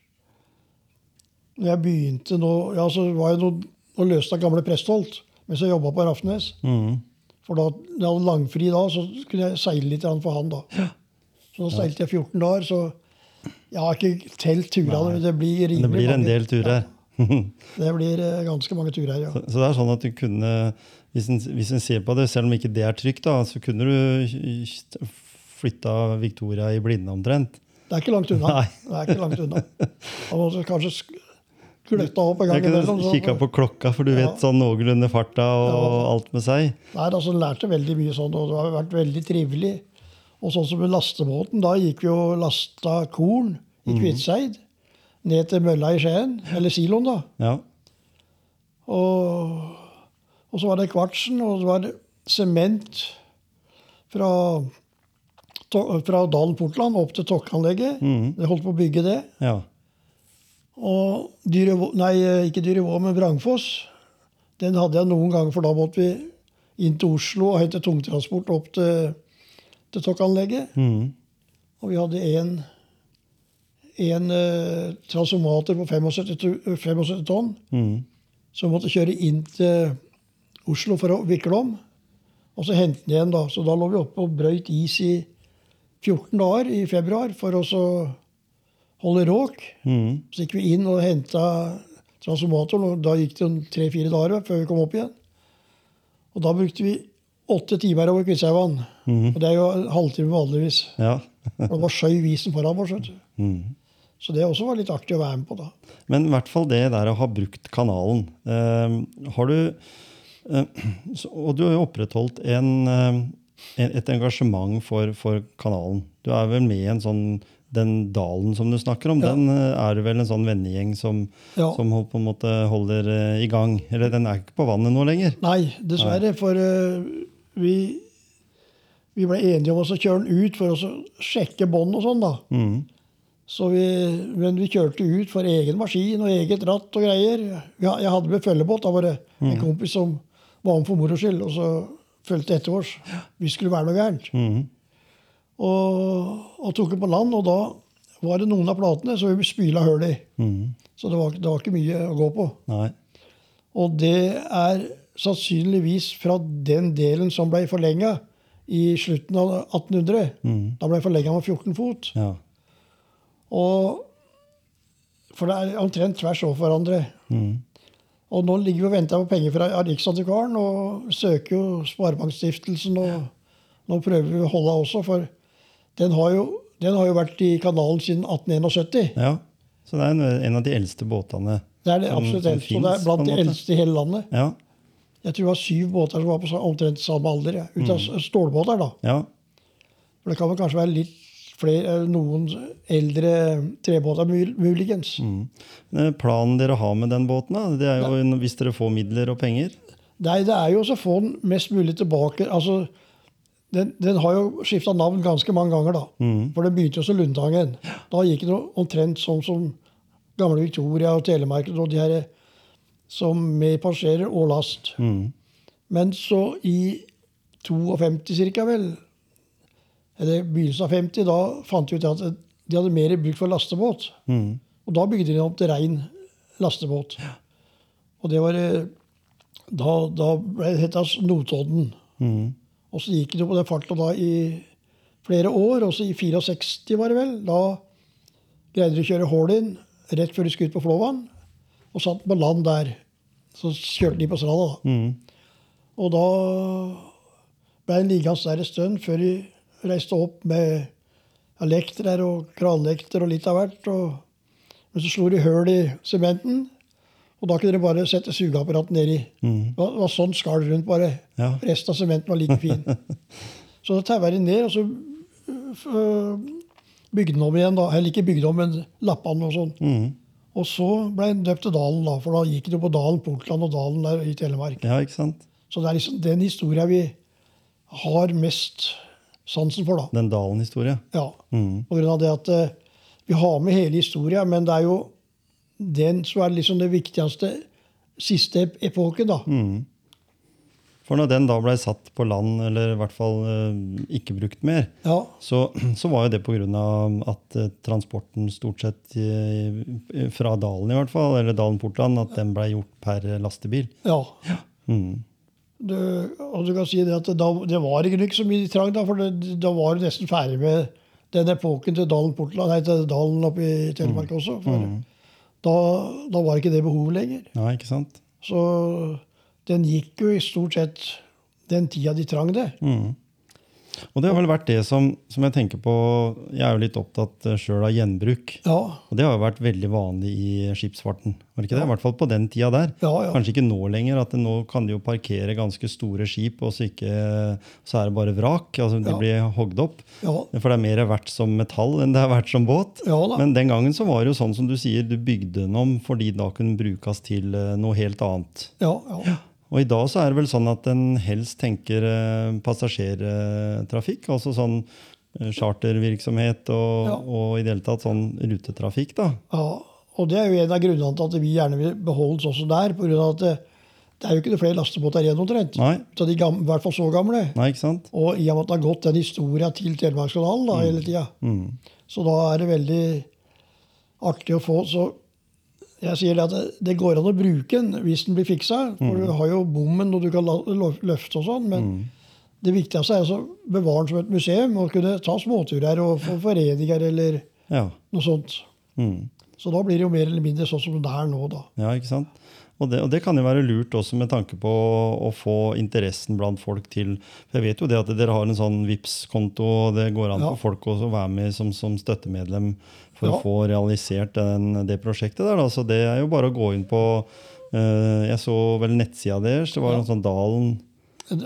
S2: Når jeg begynte nå ja, så var jeg noe, og løste av gamle Prestholt mens jeg jobba på Rafnes.
S1: Mhm.
S2: For da jeg hadde langfri da, så kunne jeg seile litt grann for han. da. Så da seilte jeg 14 dager, så jeg har ikke telt turene. Men det blir rimelig
S1: Men det blir en
S2: mange.
S1: del turer.
S2: Ja, det blir eh, ganske mange turer, ja.
S1: Så så det er sånn at du kunne, hvis en, hvis en ser på det, selv om ikke det er trygt, da, så kunne du flytta Victoria i blinde omtrent.
S2: Det er ikke langt unna.
S1: Nei.
S2: Det er ikke langt unna. Man må kanskje sk- gløtta opp en
S1: Jeg
S2: gang imellom.
S1: kunne
S2: så-
S1: kikka på klokka, for du
S2: sånn, Ja.
S1: vet sånn noenlunde farta og
S2: Ja.
S1: alt med seg.
S2: Nei, altså jeg lærte veldig mye sånn, og det har vært veldig trivelig. Og sånn som med lastebåten, da gikk vi og lasta korn i
S1: Mhm.
S2: Kviteseid. Ned til mølla i Skien, eller siloen, da.
S1: Ja.
S2: Og, og så var det kvartsen, og det var sement fra, To- fra Dalen Portland opp til Tokkanlegget.
S1: Mhm.
S2: De holdt på å bygge det.
S1: ja.
S2: Og Dyrevå, nei, eh, ikke Dyrevå, men Vrangfoss. Den hadde jeg noen ganger, for da måtte vi inn til Oslo og hente tungtransport opp til, til Tokkanlegget.
S1: Mhm.
S2: Og vi hadde én en, eh, transformator på 75, tu- 75 tonn
S1: Mhm.
S2: som måtte kjøre inn til Oslo for å vikle om. Og så hente den igjen, da. Så da lå vi oppe og brøyt is i 14 dager i februar for å så holde råk.
S1: Mhm.
S2: Så gikk vi inn og henta transformatoren, og da gikk det tre-fire dager før vi kom opp igjen. Og da brukte vi åtte timer over Kvitshaugan.
S1: Mhm.
S2: Og det er jo en halvtime
S1: [LAUGHS]
S2: vanligvis.
S1: ja.
S2: Og det var skjøv isen foran oss. skjønner du.
S1: Mhm.
S2: Så det også var litt artig å være med på, da.
S1: Men i hvert fall det der å ha brukt kanalen. Eh, har du eh, [CLEARS THROAT] så, Og du har jo opprettholdt en, eh, en, et engasjement for, for kanalen. Du er vel med i en sånn den dalen som du snakker om,
S2: Ja.
S1: den eh, er det vel en sånn vennegjeng som,
S2: Ja.
S1: som hold- på en måte holder eh, i gang? Eller den er ikke på vannet nå lenger?
S2: Nei, dessverre. For eh, vi, vi ble enige om å så kjøre den ut for å så sjekke bånd og sånn. da.
S1: Mhm.
S2: Så vi, men vi kjørte ut for egen maskin og eget ratt og greier. Ja, jeg hadde med følgebåt. Da var det en kompis som var med for moro skyld, og så fulgte etter oss. Vi skulle være noe gærent.
S1: Mhm.
S2: Og, og tok den på land, og da var det noen av platene som vi spyla hull i.
S1: Mhm.
S2: Så det var, det var ikke mye å gå på.
S1: Nei.
S2: Og det er sannsynligvis fra den delen som ble forlenga i slutten av 1800.
S1: Mhm.
S2: Da ble forlenga med 14 fot.
S1: Ja.
S2: Og, for det er omtrent tvers over hverandre.
S1: Mhm.
S2: Og nå ligger vi og venter på penger fra Riksantikvaren og søker jo Sparebankstiftelsen. Og nå prøver vi å holde også, for den har jo, den har jo vært i kanalen siden 1871.
S1: Ja. Så det er en, en av de eldste båtene.
S2: Det er det
S1: Som-
S2: absolutt
S1: som
S2: eldste, og
S1: finnes,
S2: det er
S1: på en
S2: blant de
S1: måte.
S2: eldste i hele landet.
S1: Ja.
S2: Jeg tror det var syv båter som var på sa- omtrent samme alder. Ja. Ut av s- stålbåter, da.
S1: ja.
S2: For det kan vel kanskje være litt flere, eh, noen eldre eh, trebåter, mul- muligens.
S1: Eh, Planen dere har med den båten, da, det er jo hvis dere får midler og penger.
S2: Nei, det er jo også å få den mest mulig tilbake. Altså, den, den har jo skifta navn ganske mange ganger, da.
S1: Mm.
S2: For den begynte jo som Lundtangen. Da gikk den jo omtrent sånn som gamle Victoria og Telemarken og de her som med passasjerer og last.
S1: Mm.
S2: Men så i 52 ca., vel, eller begynnelsen av 50, da fant de ut at de hadde mer bruk for lastebåt.
S1: Mm.
S2: Og da bygde de den opp til rein lastebåt. Og det var eh, Da, da ble det heta Notodden.
S1: Mm.
S2: Og så gikk det på den farta da i flere år. Og så i 64, var det vel, da greide de å kjøre hull inn rett før de skulle ut på Flåvann. Og satt på land der. Så kjørte de på stranda, da.
S1: Mm.
S2: Og da ble den liggende der en stund før de reiste opp med lekter og kranlekter og litt av hvert. Og, men så slo de høl i sementen, og da kunne de bare sette sugeapparatet nedi.
S1: Mm.
S2: Det var, det var sånn skall rundt, bare.
S1: Ja.
S2: Resten av sementen var like
S1: [LAUGHS]
S2: fin. så da taua de ned, og så øh, f- øh, bygde den om igjen. da. Eller ikke bygde om, men lappa den og sånn.
S1: Mm.
S2: Og så ble den døpt til Dalen, da, for da gikk det på Dalen, Portland og Dalen der i Telemark.
S1: Ja, ikke sant?
S2: Så det er liksom den historia vi har mest sansen for, da.
S1: Den Dalen-historia.
S2: Ja.
S1: Mm.
S2: På grunn av det at eh, vi har med hele historia, men det er jo den som er liksom det viktigste siste ep- epoken, da.
S1: Mm. For når den da blei satt på land, eller i hvert fall eh, ikke brukt mer,
S2: Ja.
S1: så, så var jo det pga. at eh, transporten stort sett eh, fra Dalen, i hvert fall, eller Dalen-Portland, at den blei gjort per lastebil.
S2: ja.
S1: Mm.
S2: Du, og du kan si det at da, det var ikke ikke så mye trang, da, for det, da var du nesten ferdig med den epoken til Dalen Portland, nei, til Dalen oppe i
S1: Mm.
S2: Telemark også. For da, da var ikke det behovet lenger.
S1: Ja, ikke sant?
S2: Så den gikk jo i stort sett den tida de trang det.
S1: Mm. Og det har vel vært det som, som jeg tenker på Jeg er jo litt opptatt sjøl av gjenbruk.
S2: Ja,
S1: Og det har jo vært veldig vanlig i skipsfarten. var det ikke det? I hvert fall på den tida der.
S2: ja, ja.
S1: Kanskje ikke nå lenger. at det- Nå kan de jo parkere ganske store skip, og så, ikke, så er det bare vrak. altså De
S2: Ja.
S1: blir hogd opp.
S2: Ja,
S1: For det er mer verdt som metall enn det er verdt som båt.
S2: ja da.
S1: Men den gangen så var det jo sånn som du sier, du bygde den om fordi da kunne den brukes til eh, noe helt annet.
S2: Ja, ja.
S1: Og i dag så er det vel sånn at en helst tenker eh, passasjertrafikk, altså sånn eh, chartervirksomhet og,
S2: Ja.
S1: og i det hele tatt sånn rutetrafikk, da.
S2: ja. Og det er jo en av grunnene til at vi gjerne vil beholde oss også der. På grunn av at det, det er jo ikke noe flere lastebåter igjen omtrent.
S1: Nei,
S2: Ut av de gamle, I hvert fall så gamle.
S1: nei ikke sant?
S2: Og i og med at det har gått den historia til Telemarkskanalen da, hele tida.
S1: Mm.
S2: Så da er det veldig artig å få. Så jeg sier det at det, det går an å bruke den hvis den blir fiksa. For du har jo bommen, og du kan la- lo- løfte og sånn. Men det viktigste er altså å bevare den som et museum og kunne ta småturer og få foreninger eller
S1: Ja.
S2: noe sånt.
S1: Mm.
S2: Så da blir det jo mer eller mindre sånn som det er nå, da.
S1: Ja, ikke sant? Og det, og det kan jo være lurt også med tanke på å, å få interessen blant folk til For jeg vet jo det at dere har en sånn vips konto og det går an
S2: Ja.
S1: for folk også å være med som, som støttemedlem for
S2: Ja.
S1: å få realisert den, det prosjektet der. Da. Så det er jo bare å gå inn på eh, Jeg så vel nettsida deres. Det var
S2: Ja.
S1: en sånn dalen,
S2: Eh,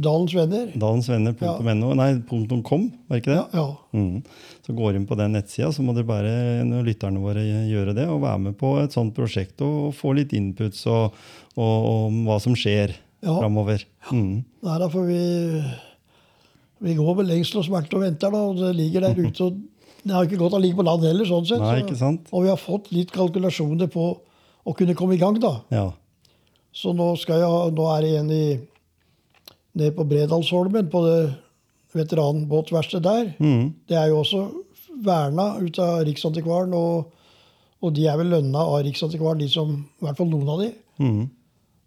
S2: Dalens venner.
S1: Mm. dalensvenner.no Nei, punktum .com, var ikke det?
S2: Ja, ja.
S1: Mm. Så går inn på den nettsida, så må dere bare når lytterne våre eh, gjøre det og være med på et sånt prosjekt og, og få litt inputs og, og, om hva som skjer
S2: Ja.
S1: framover. Mm.
S2: Nei da, for vi, vi går med lengsel og smerte og venter, da. Og det ligger der ute. og Det har ikke gått å ligge på land heller, sånn sett.
S1: Nei,
S2: så-
S1: ikke sant?
S2: Og vi har fått litt kalkulasjoner på å kunne komme i gang, da.
S1: Ja.
S2: Så nå, skal jeg, ha- nå er jeg igjen i, nede på Bredalsholmen, på det veteranbåtverkstedet der.
S1: Mm.
S2: Det er jo også verna ut av Riksantikvaren, og, og de er vel lønna av Riksantikvaren, de som, i hvert fall noen av de.
S1: Mm.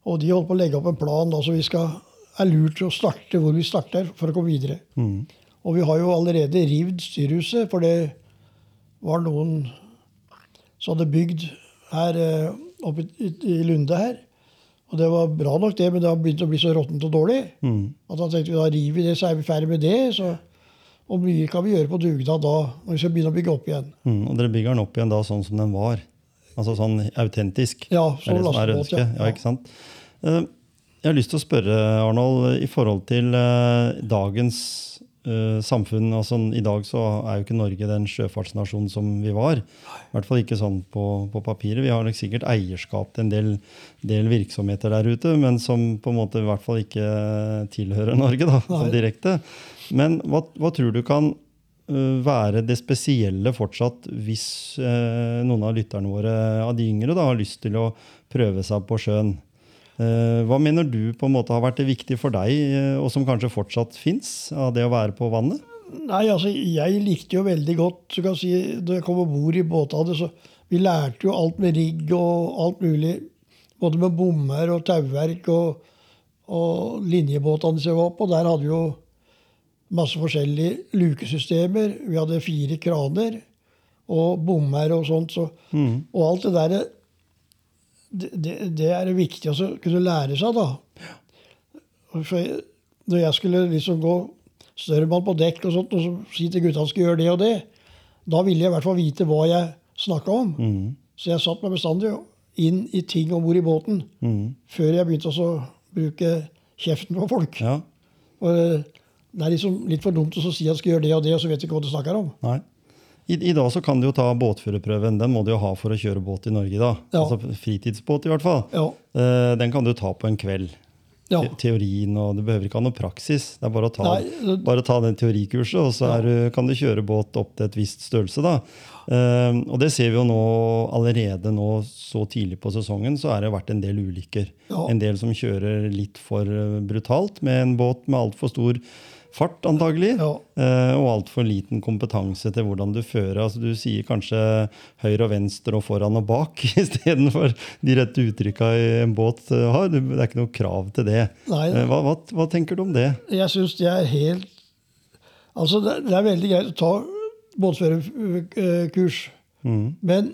S2: Og de holder på å legge opp en plan da, så vi skal, er lurt å starte hvor vi starter for å komme videre.
S1: Mm.
S2: Og vi har jo allerede rivd styrhuset, for det var noen som hadde bygd her eh, oppe i, i Lunde her. Og det var bra nok, det, men det har begynt å bli så råttent og dårlig.
S1: Mm.
S2: At da tenkte vi da river vi det, så er vi ferdig med det. Så, og mye kan vi gjøre på dugnad da, når vi skal begynne å bygge opp igjen.
S1: Mm, og dere bygger den opp igjen da sånn som den var? Altså sånn autentisk?
S2: Ja,
S1: Det er
S2: som
S1: det som er
S2: lastebåt,
S1: ønsket. Ja, ikke sant? Eh, Jeg har lyst til å spørre, Arnold, i forhold til eh, dagens eh, samfunn. altså I dag så er jo ikke Norge den sjøfartsnasjonen som vi var. I hvert fall ikke sånn på, på papiret. Vi har nok sikkert eierskap til en del, del virksomheter der ute, men som på en måte i hvert fall ikke tilhører Norge da, sånn
S2: Nei.
S1: direkte. Men hva, hva tror du kan øh, være det spesielle fortsatt hvis øh, noen av lytterne våre, eh, av de yngre, da, har lyst til å prøve seg på sjøen? Eh, hva mener du på en måte har vært det viktige for deg, eh, og som kanskje fortsatt fins, av det å være på vannet?
S2: Nei, altså, jeg likte jo veldig godt så kan jeg si, Da jeg kom om bord i båtene, så vi lærte jo alt med rigg og alt mulig. Både med bommer og tauverk og, og linjebåtene som var på. Der hadde vi jo masse forskjellige lukesystemer. Vi hadde fire kraner og bommer og sånt. Så,
S1: Mhm.
S2: Og alt det der det, det, det er det viktig å kunne lære seg, da. For jeg, når jeg skulle liksom gå størremann på dekk og sånt, og så si til gutta at jeg skulle gjøre det og det, da ville jeg i hvert fall vite hva jeg snakka om.
S1: Mhm.
S2: Så jeg satt meg bestandig inn i ting om bord i båten
S1: Mhm.
S2: før jeg begynte også å bruke kjeften på folk.
S1: Ja.
S2: Og eh, det er liksom litt for dumt å så si at jeg skal gjøre det og det, og så vet du ikke hva du snakker om.
S1: Nei. I, I dag så kan du jo ta båtførerprøven. Den må du jo ha for å kjøre båt i Norge. da.
S2: Ja.
S1: Altså Fritidsbåt, i hvert fall.
S2: Ja,
S1: Eh, den kan du ta på en kveld.
S2: ja.
S1: Te- Teorien og Du behøver ikke ha noe praksis. Det er bare å ta,
S2: Nei, det-
S1: bare å ta den teorikurset, og så er, du- kan du kjøre båt opp til et visst størrelse. da. Eh, og det ser vi jo nå allerede nå så tidlig på sesongen, så har det vært en del ulykker.
S2: Ja.
S1: En del som kjører litt for eh, brutalt med en båt med altfor stor fart, antagelig.
S2: Ja.
S1: Eh, og altfor liten kompetanse til hvordan du fører. Altså, du sier kanskje høyre og venstre og foran og bak [LAUGHS] istedenfor de rette uttrykka en båt eh, har. Du- Det er ikke noe krav til det.
S2: Nei.
S1: Eh, Hva, hva, hva tenker du om det?
S2: Jeg syns det er helt Altså, det, det er veldig greit å ta båtførerkurs,
S1: Mhm.
S2: men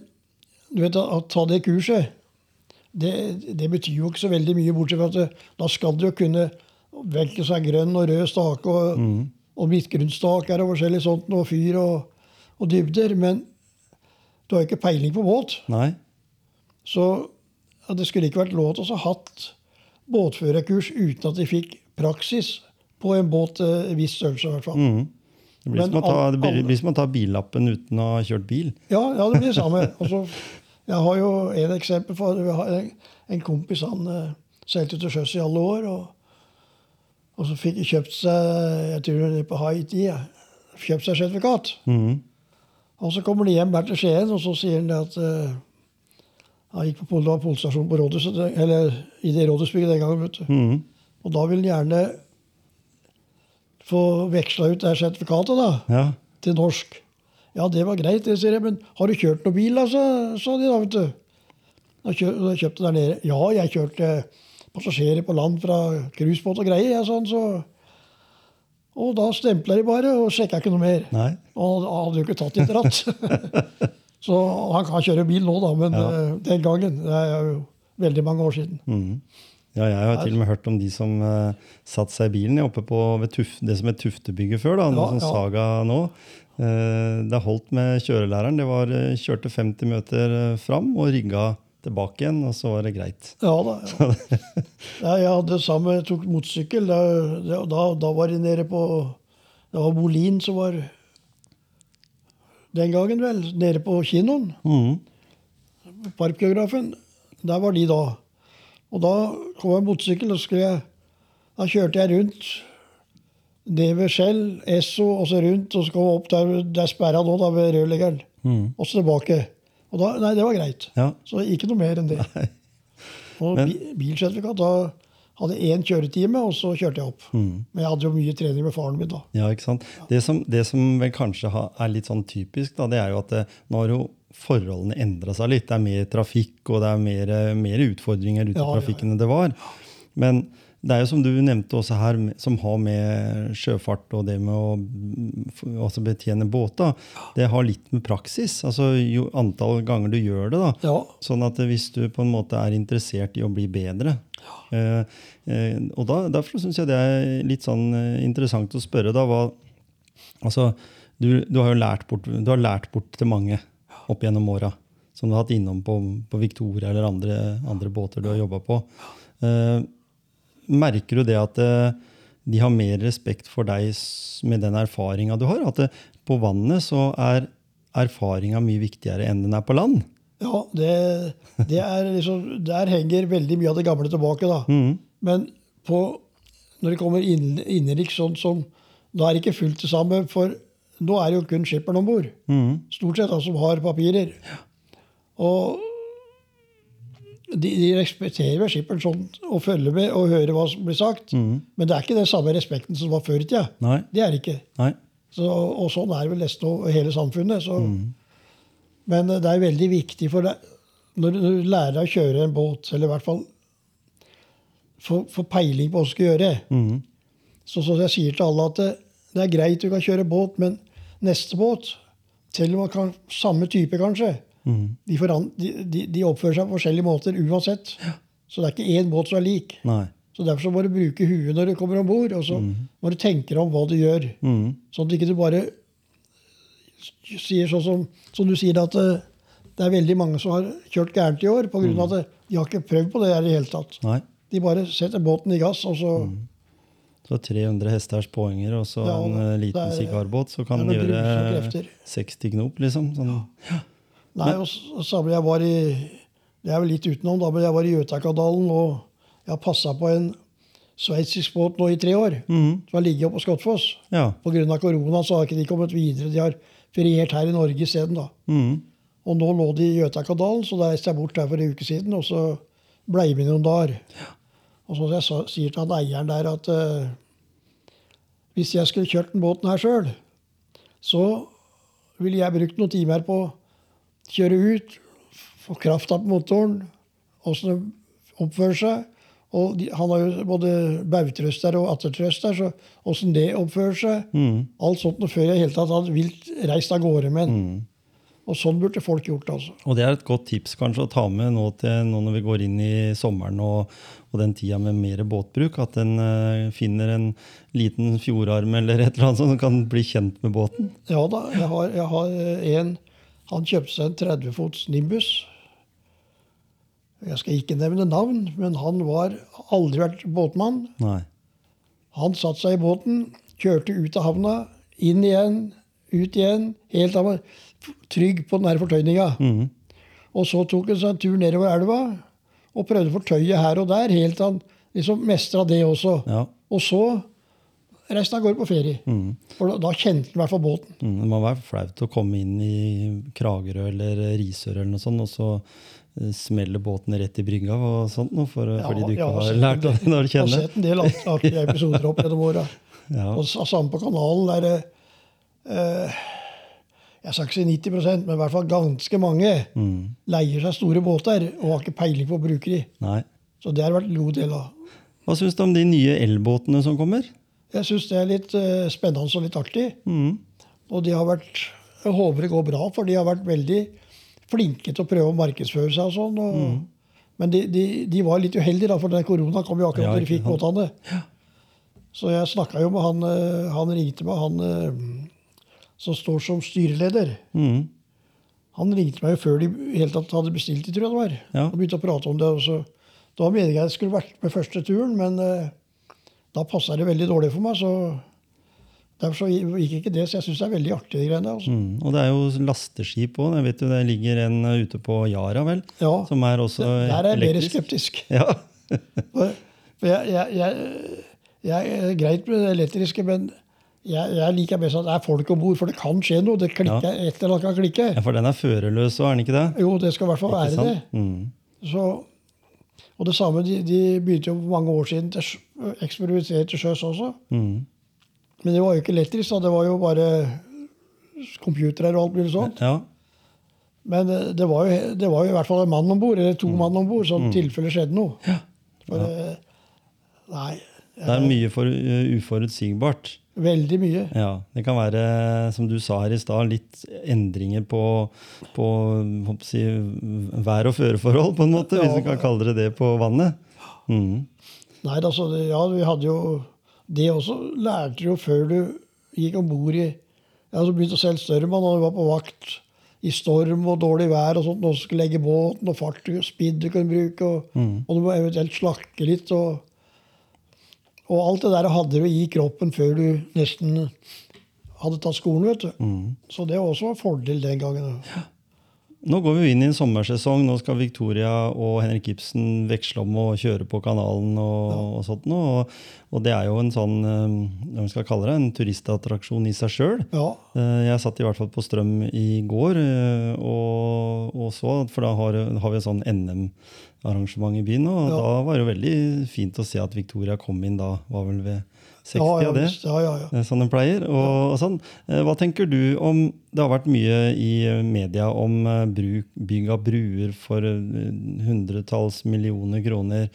S2: du vet, å ta det kurset det, det betyr jo ikke så veldig mye, bortsett fra at det, da skal du jo kunne velge seg grønn og rød stake, og, og midtgrunnsstaker og forskjellig sånt, og fyr og, og dybder. Men du har jo ikke peiling på båt.
S1: Nei?
S2: Så ja, det skulle ikke vært lov til å ha hatt båtførerkurs uten at de fikk praksis på en båt eh, en viss størrelse, i hvert fall.
S1: Mhm. Det blir,
S2: Men
S1: som å ta,
S2: al-
S1: det blir,
S2: alle-
S1: det blir som å ta billappen uten å ha kjørt bil.
S2: Ja, ja, det blir det samme. Og så, jeg har jo et eksempel. For, jeg har en, en kompis han eh, seilte til sjøs i alle år. Og, og så fikk kjøpt seg jeg tror det er på Haiti, ja, kjøpt seg sertifikat.
S1: Mhm.
S2: Og så kommer de hjem hver til Skien, og så sier han det at eh, han gikk på pol- det var polstasjonen på rådhuset, eller i det rådhusbygget den gangen. vet du.
S1: Mhm.
S2: Og da vil han gjerne få veksla ut det her sertifikatet da,
S1: Ja.
S2: til norsk. Ja, det var greit, det, sier jeg. Men har du kjørt noen bil, da? sa sa de da, vet du. Da kjø- da kjøpte der nede. Ja, jeg kjørte passasjerer på land fra cruisebåt og greier. Jeg, sånn, så. Og da stempla de bare og sjekka ikke noe mer.
S1: Nei.
S2: Og han hadde jo ikke tatt i ratt.
S1: [LAUGHS]
S2: så han kan kjøre bil nå, da, men
S1: Ja.
S2: eh, den gangen Det er jo veldig mange år siden.
S1: Mhm. Ja, jeg har til og med hørt om de som uh, satte seg i bilen ja, oppe på ved Tuf, det som het Tuftebygget før, da,
S2: Ja,
S1: noe som
S2: ja.
S1: Saga nå. Eh, det holdt med kjørelæreren. Det var, eh, kjørte 50 meter eh, fram og rygga tilbake igjen, og så var det greit.
S2: Ja da. Ja. Ja, jeg hadde samme, tok motorsykkel. Da, det- da, da var jeg nede på Det var Bolin som var Den gangen, vel. Nede på kinoen.
S1: Mhm.
S2: Parkgeografen. Der var de da. Og da kom jeg motorsykkel, og skulle jeg, da kjørte jeg rundt. Ned ved Skjell, Esso, og så rundt. Og så kom jeg opp der det er sperra nå, da, ved rørleggeren.
S1: Mhm.
S2: Og så tilbake. Og da, nei, det var greit.
S1: Ja.
S2: Så ikke noe mer enn det. Og
S1: Men-
S2: bi- bilsertifikat, da hadde jeg én kjøretime, og så kjørte jeg opp.
S1: Mm.
S2: Men jeg hadde jo mye trening med faren min da.
S1: Ja, ikke sant? Det som, det som vel kanskje ha, er litt sånn typisk, da, det er jo at det, nå har jo forholdene endra seg litt. Det er mer trafikk, og det er mer, eh, mer utfordringer ute i
S2: Ja, ja,
S1: trafikken enn det var. Men det er jo som du nevnte også her, med- som har med sjøfart og det med å mm, f- altså betjene båter, det har litt med praksis. Altså jo antall ganger du gjør det, da.
S2: Ja,
S1: Sånn at hvis du på en måte er interessert i å bli bedre, Eh, eh, og da, derfor syns jeg det er litt sånn eh, interessant å spørre, da. Hva, altså, du, du har jo lært bort, du har lært bort til mange opp gjennom åra. Som du har hatt innom på, på Victoria eller andre, andre båter du har jobba på. Eh, merker du det at eh, de har mer respekt for deg s- med den erfaringa du har? At det, på vannet så er erfaringa mye viktigere enn den er på land?
S2: Ja, det, det er liksom, Der henger veldig mye av det gamle tilbake, da. Men på, når det kommer inn, innenriks sånn som Da er det ikke fullt det samme, for nå er det jo kun skipperen om bord. Stort sett, da, som har papirer. Og de, de respekterer vel skipperen sånn, og følger med og hører hva som blir sagt. Men det er ikke den samme respekten som var før i tida.
S1: Nei.
S2: Det er det ikke.
S1: Nei.
S2: Så, og sånn er det vel nesten over hele samfunnet. Så. Men eh, det er veldig viktig for deg når du lærer å kjøre en båt, eller i hvert fall få få peiling på hva du skal gjøre.
S1: Mhm.
S2: Så som jeg sier til alle, at det, det er greit du kan kjøre båt, men neste båt, selv om man kan samme type, kanskje,
S1: Mhm.
S2: de, foran, de, de, de oppfører seg på forskjellige måter uansett. Så det er ikke én båt som er lik.
S1: Nei.
S2: Så Derfor så må du bruke huet når du kommer om bord, og så må du tenke deg om hva du gjør.
S1: Mm.
S2: Sånn at ikke du bare sier sånn som, som du sier at eh, det er veldig mange som har kjørt gærent i år pga. av at de har ikke prøvd på det her i det hele tatt.
S1: Nei.
S2: De bare setter båten i gass, og så
S1: Så 300 hesters poenger og så
S2: Ja,
S1: en eh, liten
S2: det er-
S1: sigarbåt, så kan
S2: det er
S1: den
S2: noen grusomme
S1: gjøre
S2: krefter.
S1: 60 knop, liksom. Sånn.
S2: Nei, og s- og samme jeg var i Det er vel litt utenom, da, men jeg var i Jøtakadalen, og jeg har passa på en sveitsisk båt nå i tre år. Som har ligget oppe på Skottfoss.
S1: Ja.
S2: Pga. korona så har ikke de kommet videre. De har feriert her i Norge isteden, da.
S1: Mm.
S2: Og nå lå de i Jøtakadalen, så da reiste jeg bort der for en uke siden. Og så blei vi noen dager. Og så jeg sa, sier til han eieren der at eh, hvis jeg skulle kjørt den båten her sjøl, så ville jeg brukt noen timer på å kjøre ut, få krafta på motoren, åssen det oppfører seg. Og de, han har jo både bautrøster og attertrøster, så åssen det oppfører seg. Alt sånt noe før jeg i hele tatt hadde vilt reist av gårde med den. Og sånn burde folk gjort, altså.
S1: Og det er et godt tips kanskje å ta med nå, til, nå når vi går inn i sommeren og, og den tida med mer båtbruk, at en eh, finner en liten fjordarm eller et eller annet sånt som kan bli kjent med båten.
S2: Ja da, jeg har, jeg har eh, en Han kjøpte seg en 30 fots Nimbus. Jeg skal ikke nevne navn, men han var aldri vært båtmann.
S1: Nei.
S2: Han satte seg i båten, kjørte ut av havna, inn igjen, ut igjen. Helt av trygg på den her fortøyninga.
S1: Mhm.
S2: Og så tok han seg en tur nedover elva og prøvde å fortøye her og der, helt til han liksom mestra det også.
S1: Ja.
S2: Og så reiste han av gårde på ferie. For da, da kjente han i hvert fall båten.
S1: Mm, Det må være flaut å komme inn i Kragerø eller Risør eller noe sånt, og så eh, smeller båten rett i brygga og sånt, nå, for, fordi du ikke
S2: jeg har
S1: har
S2: sett
S1: lært [LAUGHS]
S2: en
S1: det
S2: del-
S1: når du
S2: altså, Jeg har
S1: kjenner.
S2: sett en del art- artige episoder opp gjennom åra.
S1: [LAUGHS] Ja.
S2: Og s- samme på kanalen der eh, eh, Jeg skal ikke si 90 men i hvert fall ganske mange
S1: Mm.
S2: leier seg store båter og har ikke peiling på å bruke de.
S1: Nei.
S2: Så det har vært en god del av.
S1: Hva syns du om de nye elbåtene som kommer?
S2: Jeg syns det er litt eh, spennende og litt artig.
S1: Mm.
S2: Og de har vært Jeg håper det går bra, for de har vært veldig flinke til å prøve å markedsføre seg og sånn. Og,
S1: Mm.
S2: Men de, de, de var litt uheldige, da, for den korona kom jo akkurat
S1: Ja,
S2: da de
S1: ikke
S2: fikk båtene. Så jeg snakka jo med han eh, Han ringte meg, han eh, som står som styreleder.
S1: Mm.
S2: Han ringte meg jo før de i hele tatt hadde bestilt de, tror jeg det var.
S1: Ja.
S2: Og begynte å prate om det. Og så, da meningen jeg skulle vært med første turen, men eh, da passa det veldig dårlig for meg. Så derfor så gikk ikke det. Så jeg syns det er veldig artig, de greiene. Altså.
S1: Mm. Og det er jo lasteskip òg. Jeg vet jo det ligger en eh, ute på Yara, vel?
S2: Ja,
S1: Som er også
S2: Der er jeg mer
S1: elektrisk.
S2: skeptisk.
S1: Ja.
S2: For, for jeg, jeg, jeg, jeg er greit med det elektriske, men jeg, jeg liker best at det er folk om bord, for det kan skje noe. Det klikker, Et eller annet kan klikke.
S1: ja, for den er førerløs, og er den ikke det?
S2: Jo, det skal i hvert fall
S1: Ikke
S2: være det.
S1: sant? Mm.
S2: Så, og det samme, de, de begynte jo for mange år siden til å eksperimentere til sjøs også.
S1: Mm.
S2: Men det var jo ikke elektrisk, da. det var jo bare computere og alt mulig sånt.
S1: Ja.
S2: Men eh, det var jo, det var jo i hvert fall en mann om bord, eller to mann om bord, så i tilfelle skjedde noe. For, eh, Nei.
S1: Det er mye for eh, uforutsigbart.
S2: Veldig mye.
S1: Ja, Det kan være, som du sa her i stad, litt endringer på, på hva skal jeg si, vær- og føreforhold, på en måte, hvis
S2: Ja.
S1: vi kan kalle det det på vannet. Mhm.
S2: Nei, altså, det, ja, vi hadde jo Det også lærte du jo før du gikk om bord i Ja, så begynte selv størremann, og du var på vakt i storm og dårlig vær og sånt, og skulle legge båten, og fart og speed du kunne bruke, og,
S1: Mm.
S2: og du må eventuelt slakke litt, og Og alt det der hadde du i kroppen før du nesten hadde tatt skolen, vet du.
S1: Mm.
S2: Så det var også en fordel den gangen.
S1: Nå går vi inn i en sommersesong. Nå skal Victoria og Henrik Ibsen veksle om å kjøre på kanalen. og, og sånt. nå. Og, og det er jo en sånn eh, hva man skal kalle det, en turistattraksjon i seg sjøl.
S2: Ja.
S1: Eh, Jeg satt i hvert fall på Strøm i går eh, og, og så, for da har, har vi et sånn NM-arrangement i byen. Og
S2: Ja.
S1: da var det jo veldig fint å se at Victoria kom inn da, var vel ved 60
S2: ja, ja,
S1: av det.
S2: visst. ja, ja, ja.
S1: eh, Som den pleier. Og, og sånn. Eh, Hva tenker du om Det har vært mye i eh, media om eh, bruk, bygg av bruer for eh, hundretalls millioner kroner.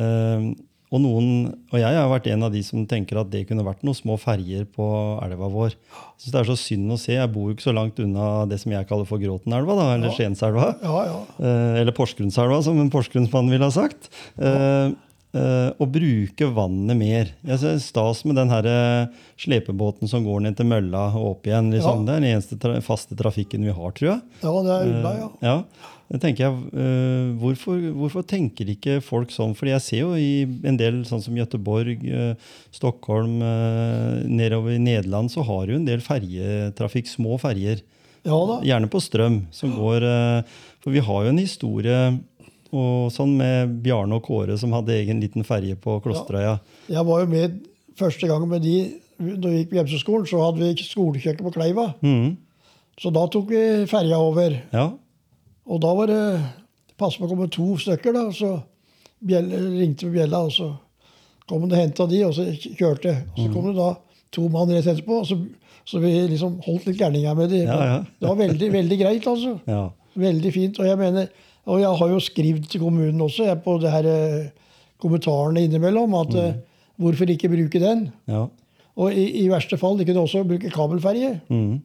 S1: Eh, Og, noen, og jeg har vært en av de som tenker at det kunne vært noen små ferger på elva vår. Jeg synes det er så synd å se. Jeg bor jo ikke så langt unna det som jeg kaller for Gråtenelva, da, eller Skienselva.
S2: ja, ja.
S1: Eh, eller Porsgrunnselva, som en porsgrunnsmann ville ha sagt. Eh, eh, å bruke vannet mer. Jeg ser stas med den her, eh, slepebåten som går ned til mølla og opp igjen. Liksom. Det er den eneste tra faste trafikken vi har, tror jeg.
S2: Ja, det er
S1: Eh,
S2: unna, ja.
S1: Ja, det tenker jeg, eh, hvorfor, hvorfor tenker ikke folk sånn? Fordi jeg ser jo i en del, sånn som Gøteborg, eh, Stockholm, eh, nedover i Nederland, så har jo en del ferjetrafikk, små ferjer.
S2: Ja da.
S1: Gjerne på strøm, som går eh, For vi har jo en historie og sånn med Bjarne og Kåre som hadde egen liten ferje på Klosterøya.
S2: Jeg var jo med første gang med de da vi gikk på Gjemseskolen. Så hadde vi skolekjøkken på Kleiva.
S1: Mhm.
S2: Så da tok vi ferja over.
S1: Ja.
S2: Og da var det passe på å komme to stykker, da. Så bjelle, ringte vi bjella, og så kom hun og henta de, og så kjørte. Og
S1: Mm.
S2: så kom det da to mann rett etterpå, og så, så vi liksom holdt litt gærninger med de.
S1: Ja, ja.
S2: Det var veldig, veldig
S1: [LAUGHS]
S2: greit, altså.
S1: ja.
S2: Veldig fint. Og jeg mener, og jeg har jo skrevet til kommunen også jeg, på det her eh, kommentarene innimellom at eh,
S1: Mm.
S2: hvorfor ikke bruke den?
S1: ja.
S2: Og i, i verste fall, de kunne også bruke kabelferje.
S1: Mhm.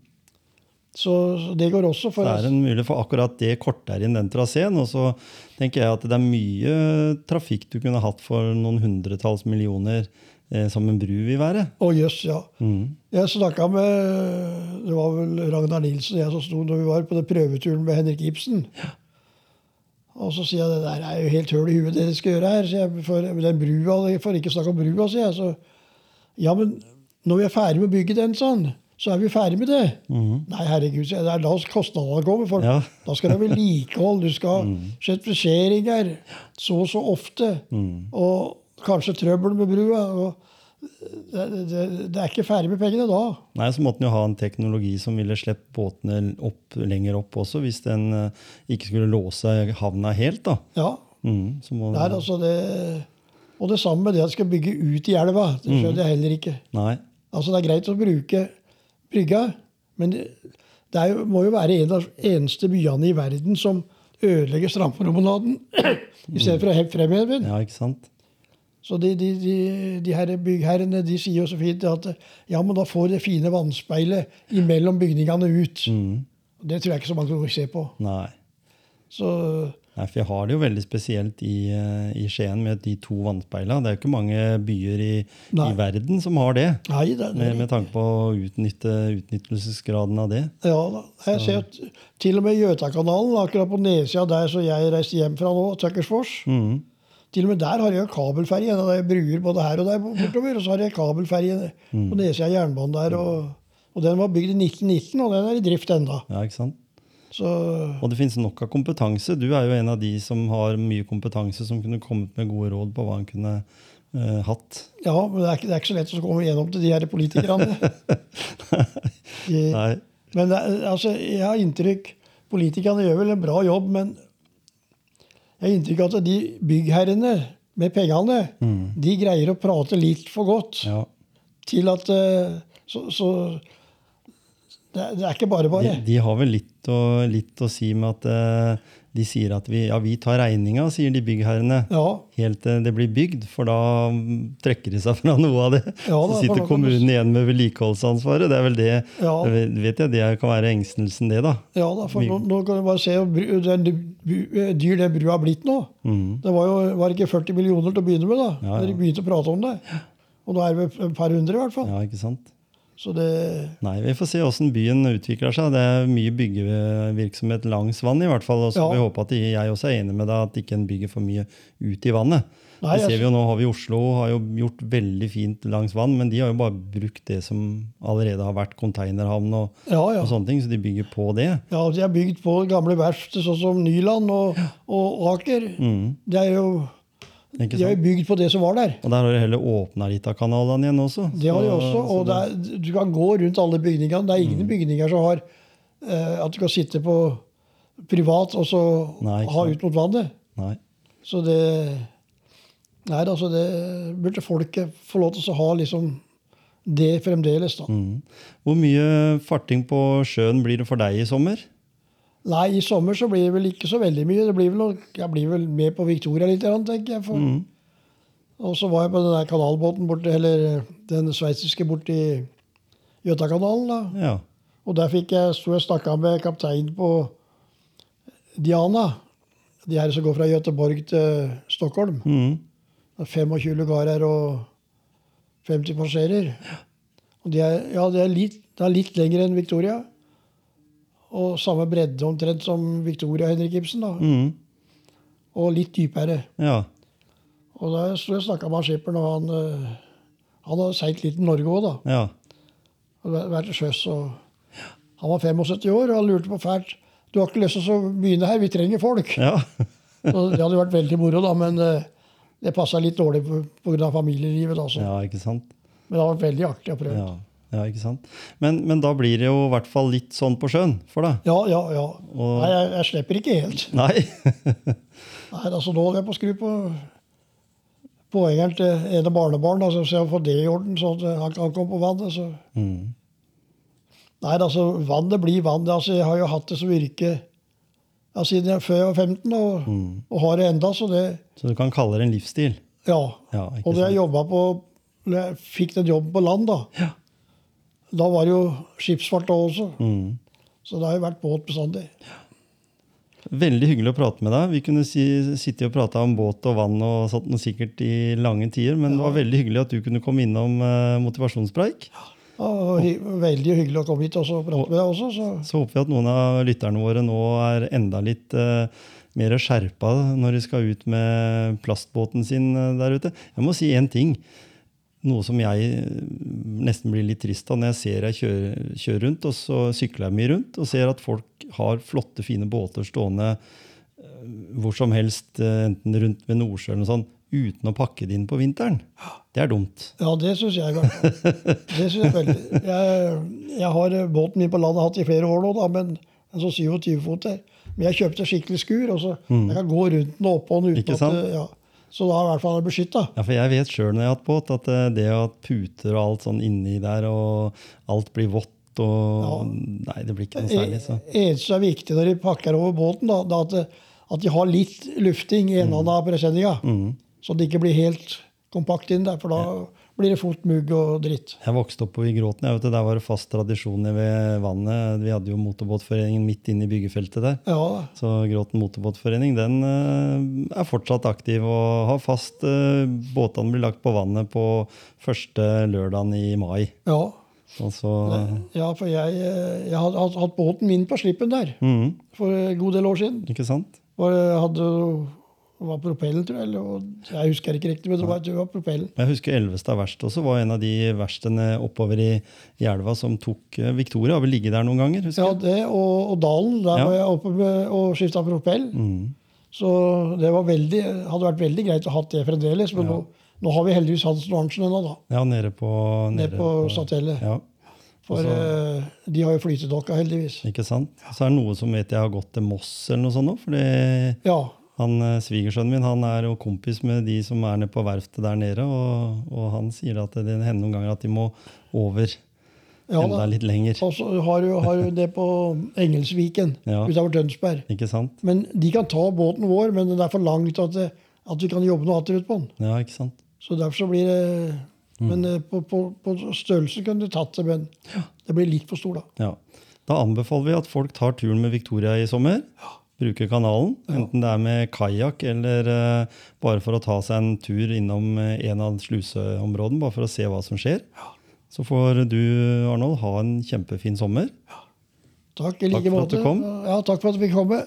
S2: Så, så det går også. for
S1: Det er en mulighet for akkurat det kortere inn den traseen. Og så tenker jeg at det er mye trafikk du kunne hatt for noen hundretalls millioner eh, som en bru vil være.
S2: Å, jøss, ja.
S1: Mhm.
S2: Jeg snakka med det var vel Ragnar Nilsen og jeg som sto når vi var på den prøveturen med Henrik Ibsen. Og så sier jeg det der er jo helt høl i huet det dere skal gjøre her. sier jeg, for den brua, For ikke å snakke om brua, sier jeg. Så, ja, men når vi er ferdig med å bygge den, sånn, så er vi ferdig med det. Nei, herregud, sier jeg, det er da kostnadene kommer. For
S1: Ja.
S2: da skal det ha vedlikehold, du skal ha sertifisering her så og så ofte. Og kanskje trøbbel med brua. og det, det, det er ikke ferdig med pengene da.
S1: Nei, så måtte den jo ha en teknologi som ville slippe båtene opp, lenger opp også, hvis den eh, ikke skulle låse havna helt. da.
S2: Ja,
S1: Mhm, så må
S2: det er altså det Og det samme med det at skal bygge ut i elva. Det skjønner jeg heller ikke.
S1: Nei.
S2: Altså Det er greit å bruke brygga, men det, det er jo, må jo være en av de eneste byene i verden som ødelegger strandpromenaden [CLEARS THROAT] i stedet for å heve fremheve den.
S1: Ja, ikke sant?
S2: Så de, de, de, de her byggherrene de sier jo så fint at ja, men da får det fine vannspeilet imellom bygningene ut.
S1: Mm.
S2: Det tror jeg ikke så mange kommer til å se på.
S1: Nei.
S2: Så
S1: Nei, for jeg har det jo veldig spesielt i, eh, i Skien med de to vannspeila. Det er jo ikke mange byer i,
S2: Nei.
S1: i verden som har det,
S2: Nei, det, det,
S1: med, med tanke på å utnytte utnyttelsesgraden av det.
S2: ja, da. Jeg ser at til og med Gjøtakanalen, akkurat på nedsida der som jeg reiste hjem fra nå, Tøkkersfors
S1: Mhm.
S2: Til og med der har de jo kabelferje. og Det er bruer både her og der bortover. Og så har de kabelferje
S1: Mm.
S2: på nedsida av jernbanen der. Og, og den var bygd i 1919, og den er i drift ennå.
S1: Ja, ikke sant?
S2: Så
S1: Og det finnes nok av kompetanse. Du er jo en av de som har mye kompetanse, som kunne kommet med gode råd på hva en kunne eh, hatt.
S2: ja, men det er, ikke, det er ikke så lett å komme gjennom til de her politikerne. De,
S1: [LAUGHS] Nei.
S2: Men det, er- altså, jeg har inntrykk Politikerne gjør vel en bra jobb, men jeg har inntrykk av at de byggherrene med pengene,
S1: Mm.
S2: de greier å prate litt for godt
S1: Ja.
S2: til at eh, så, så Det, det er ikke bare bare.
S1: De, de har vel litt å, litt å si med at eh, de sier at vi, ja, vi tar regninga, sier de byggherrene.
S2: Ja,
S1: Helt til det blir bygd, for da mm, trekker de seg fra noe av det. så
S2: Ja, da, for da
S1: sitter
S2: kan du s-
S1: kommunen igjen med vedlikeholdsansvaret. Det er vel det,
S2: ja,
S1: det vet jeg, det kan være engstelsen, det, da.
S2: ja da, for nå, nå kan du bare se hvor bru- den bu- dyr den brua har blitt nå.
S1: Mm.
S2: Det var jo var det ikke 40 millioner til å begynne med da
S1: Ja, ja.
S2: når de begynte å prate om det. Og nå er det vel et par hundre, i hvert fall.
S1: Ja, ikke sant?
S2: Så det
S1: Nei, vi får se åssen byen utvikler seg. Det er mye byggevirksomhet langs vann, i hvert fall. Og så får
S2: Ja.
S1: vi håpe at jeg også er enig med deg, at ikke en bygger for mye ut i vannet.
S2: Nei,
S1: det ser
S2: altså-
S1: vi jo nå, har vi Oslo har jo gjort veldig fint langs vann, men de har jo bare brukt det som allerede har vært konteinerhavn og,
S2: Ja, ja.
S1: og sånne ting, så de bygger på det.
S2: ja de er bygd på gamle verft, sånn som Nyland og, og Aker.
S1: Mm,
S2: Det er jo,
S1: ikke
S2: de er
S1: sant?
S2: jo bygd på det som var der.
S1: Og der har de heller åpna litt av kanalene igjen også.
S2: Det har de
S1: Så- Mm.
S2: også.
S1: så
S2: Og det er, du kan gå rundt alle bygningene. Det er ingen bygninger som har eh, at du kan sitte på privat og så
S1: Nei, ikke
S2: ha
S1: sant.
S2: ut mot vannet.
S1: Nei.
S2: Så det Nei, altså det burde folket få lov til å ha liksom det fremdeles, da.
S1: Mm. Hvor mye farting på sjøen blir det for deg i sommer?
S2: Nei, i sommer så blir det vel ikke så veldig mye. Det blir vel nok, jeg blir vel med på Victoria litt, grann, tenker jeg. For,
S1: Mm.
S2: Og så var jeg på den der kanalbåten borte, eller den sveitsiske borti Gjøtakanalen, da.
S1: Ja.
S2: Og der fikk jeg, sto jeg og snakka med kapteinen på Diana. De her som går fra Gøteborg til Stockholm.
S1: Mm.
S2: Det er 25 lugarer og 50 passasjerer. Og de er, ja, det er, litt, det er litt lengre enn Victoria. Og samme bredde omtrent som Victoria Henrik Ibsen. da.
S1: Mm.
S2: Og litt dypere.
S1: Ja.
S2: Og da sto jeg og snakka med han skipperen, og han, eh, han hadde seilt litt i Norge òg, da.
S1: Ja.
S2: og væ- vært til sjøs. Og han var 75 år, og han lurte på fælt Du har ikke lyst til å begynne her, vi trenger folk.
S1: ja. [LAUGHS]
S2: Så det hadde vært veldig moro, da, men eh, det passa litt dårlig pga. familielivet. Da, så.
S1: Ja, ikke sant?
S2: Men det har vært veldig artig å prøve.
S1: Ja, ja ikke sant? Men, men da blir det jo i hvert fall litt sånn på sjøen for deg.
S2: Ja, ja, ja.
S1: Og-
S2: Nei, jeg, jeg slipper ikke helt.
S1: Nei. [LAUGHS]
S2: Nei, altså Nå holder jeg på å skru på poengeren til ene barnebarn, da, så jeg får det i orden, så at han kan komme på vannet. så...
S1: Mm.
S2: Nei, altså, vannet blir vann. Altså, jeg har jo hatt det som yrke ja, siden jeg, før jeg var 15, og, og har det enda, så det
S1: mm. Så du kan kalle det en livsstil.
S2: Ja.
S1: Ja, ikke
S2: og da jeg
S1: sant?
S2: jobba på Når jeg fikk den jobben på land, da, da var det jo skipsfart da også.
S1: Mm.
S2: Så det har jo vært båt bestandig.
S1: Veldig hyggelig å prate med deg. Vi kunne si, sitte og prate om båt og vann og sånt noe sikkert i lange tider, men det var veldig hyggelig at du kunne komme innom eh, motivasjonspreik.
S2: Ja, og hy veldig hyggelig å komme hit og så prate med deg også. Så.
S1: Så håper vi at noen av lytterne våre nå er enda litt eh, mer skjerpa når de skal ut med plastbåten sin eh, der ute. Jeg må si én ting. Noe som jeg eh, nesten blir litt trist av når jeg ser jeg kjører, kjører rundt, og så sykler jeg mye rundt, og ser at folk har flotte, fine båter stående eh, hvor som helst, eh, enten rundt ved Nordsjøen eller sånn, uten å pakke det inn på vinteren. Det er dumt.
S2: Ja, det syns jeg i hvert fall. Det synes jeg veldig. Jeg, jeg har eh, båten min på landet hatt i flere år nå, da, men en sånn 27 fot der. Men jeg kjøpte skikkelig skur, og så jeg kan gå rundt den og oppå den
S1: Mm. Ikke
S2: uten at
S1: sant?
S2: eh, ja. Så da er jeg i hvert fall beskytta.
S1: Ja, for jeg vet sjøl når jeg har hatt båt, at eh, det at puter og alt sånn inni der, og alt blir vått og Nei, det blir ikke
S2: Eh,
S1: noe særlig. Så.
S2: E, eneste som er viktig når de pakker over båten, da, det er at, det- at de har litt lufting i
S1: Mm.
S2: enden av presenninga. Så det ikke blir helt kompakt inn der, for da blir det fort mugg og dritt.
S1: Jeg vokste opp på Gråten. Jeg vet, det, der var det fast tradisjon ved vannet. Vi hadde jo motorbåtforeningen midt inne i byggefeltet der.
S2: Ja,
S1: Så Gråten motorbåtforening den eh, er fortsatt aktiv og har fast eh, Båtene blir lagt på vannet på første lørdagen i mai.
S2: ja.
S1: Og så
S2: ja for jeg, eh, jeg hadde hatt- hatt båten min på slippen der
S1: Mhm,
S2: for en god del år siden.
S1: Ikke sant?
S2: Var, hadde, det var propellen, tror jeg. Eller, og jeg husker ikke riktig, men det var, det var propellen.
S1: Jeg husker Elvestad verst også var en av de verstene oppover i, i elva som tok eh, Victoria. Har vel ligget der noen ganger? husker
S2: Ja,
S1: jeg.
S2: det og, og Dalen. Der
S1: Ja.
S2: var jeg oppe med, og skifta propell.
S1: Mm.
S2: Så det var veldig, hadde vært veldig greit å ha det fremdeles. Men
S1: Ja.
S2: nå, nå har vi heldigvis Hansen og Arntzen ennå, da.
S1: ja, nede på nede
S2: Ned på Statellet.
S1: Ja,
S2: For
S1: også-
S2: eh, de har jo flytedokka, heldigvis.
S1: ikke sant? Så er det noe som vet jeg har gått til Moss eller noe sånt nå. fordi
S2: Ja.
S1: han, eh, Svigersønnen min han er jo kompis med de som er nede på verftet der nede. Og, og han sier at det hender noen ganger at de må over
S2: Ja da.
S1: enda litt lenger.
S2: Og så har du, har du det på Engelsviken
S1: [LAUGHS] Ja.
S2: utover Tønsberg.
S1: Ikke sant?
S2: Men de kan ta båten vår, men den er for langt at, det, at vi kan jobbe noe annet ut på den.
S1: Ja, ikke sant?
S2: Så derfor så blir det
S1: Mm.
S2: Men eh, på, på, på størrelsen kunne du tatt det, men det blir litt for stor, da.
S1: Ja. Da anbefaler vi at folk tar turen med Victoria i sommer. Bruker kanalen, enten det er med kajakk eller eh, bare for å ta seg en tur innom eh, en av sluseområdene, bare for å se hva som skjer. Så får du, Arnold, ha en kjempefin sommer.
S2: Takk
S1: Takk
S2: i like
S1: for at
S2: måte.
S1: du kom.
S2: Ja, takk for at du fikk komme.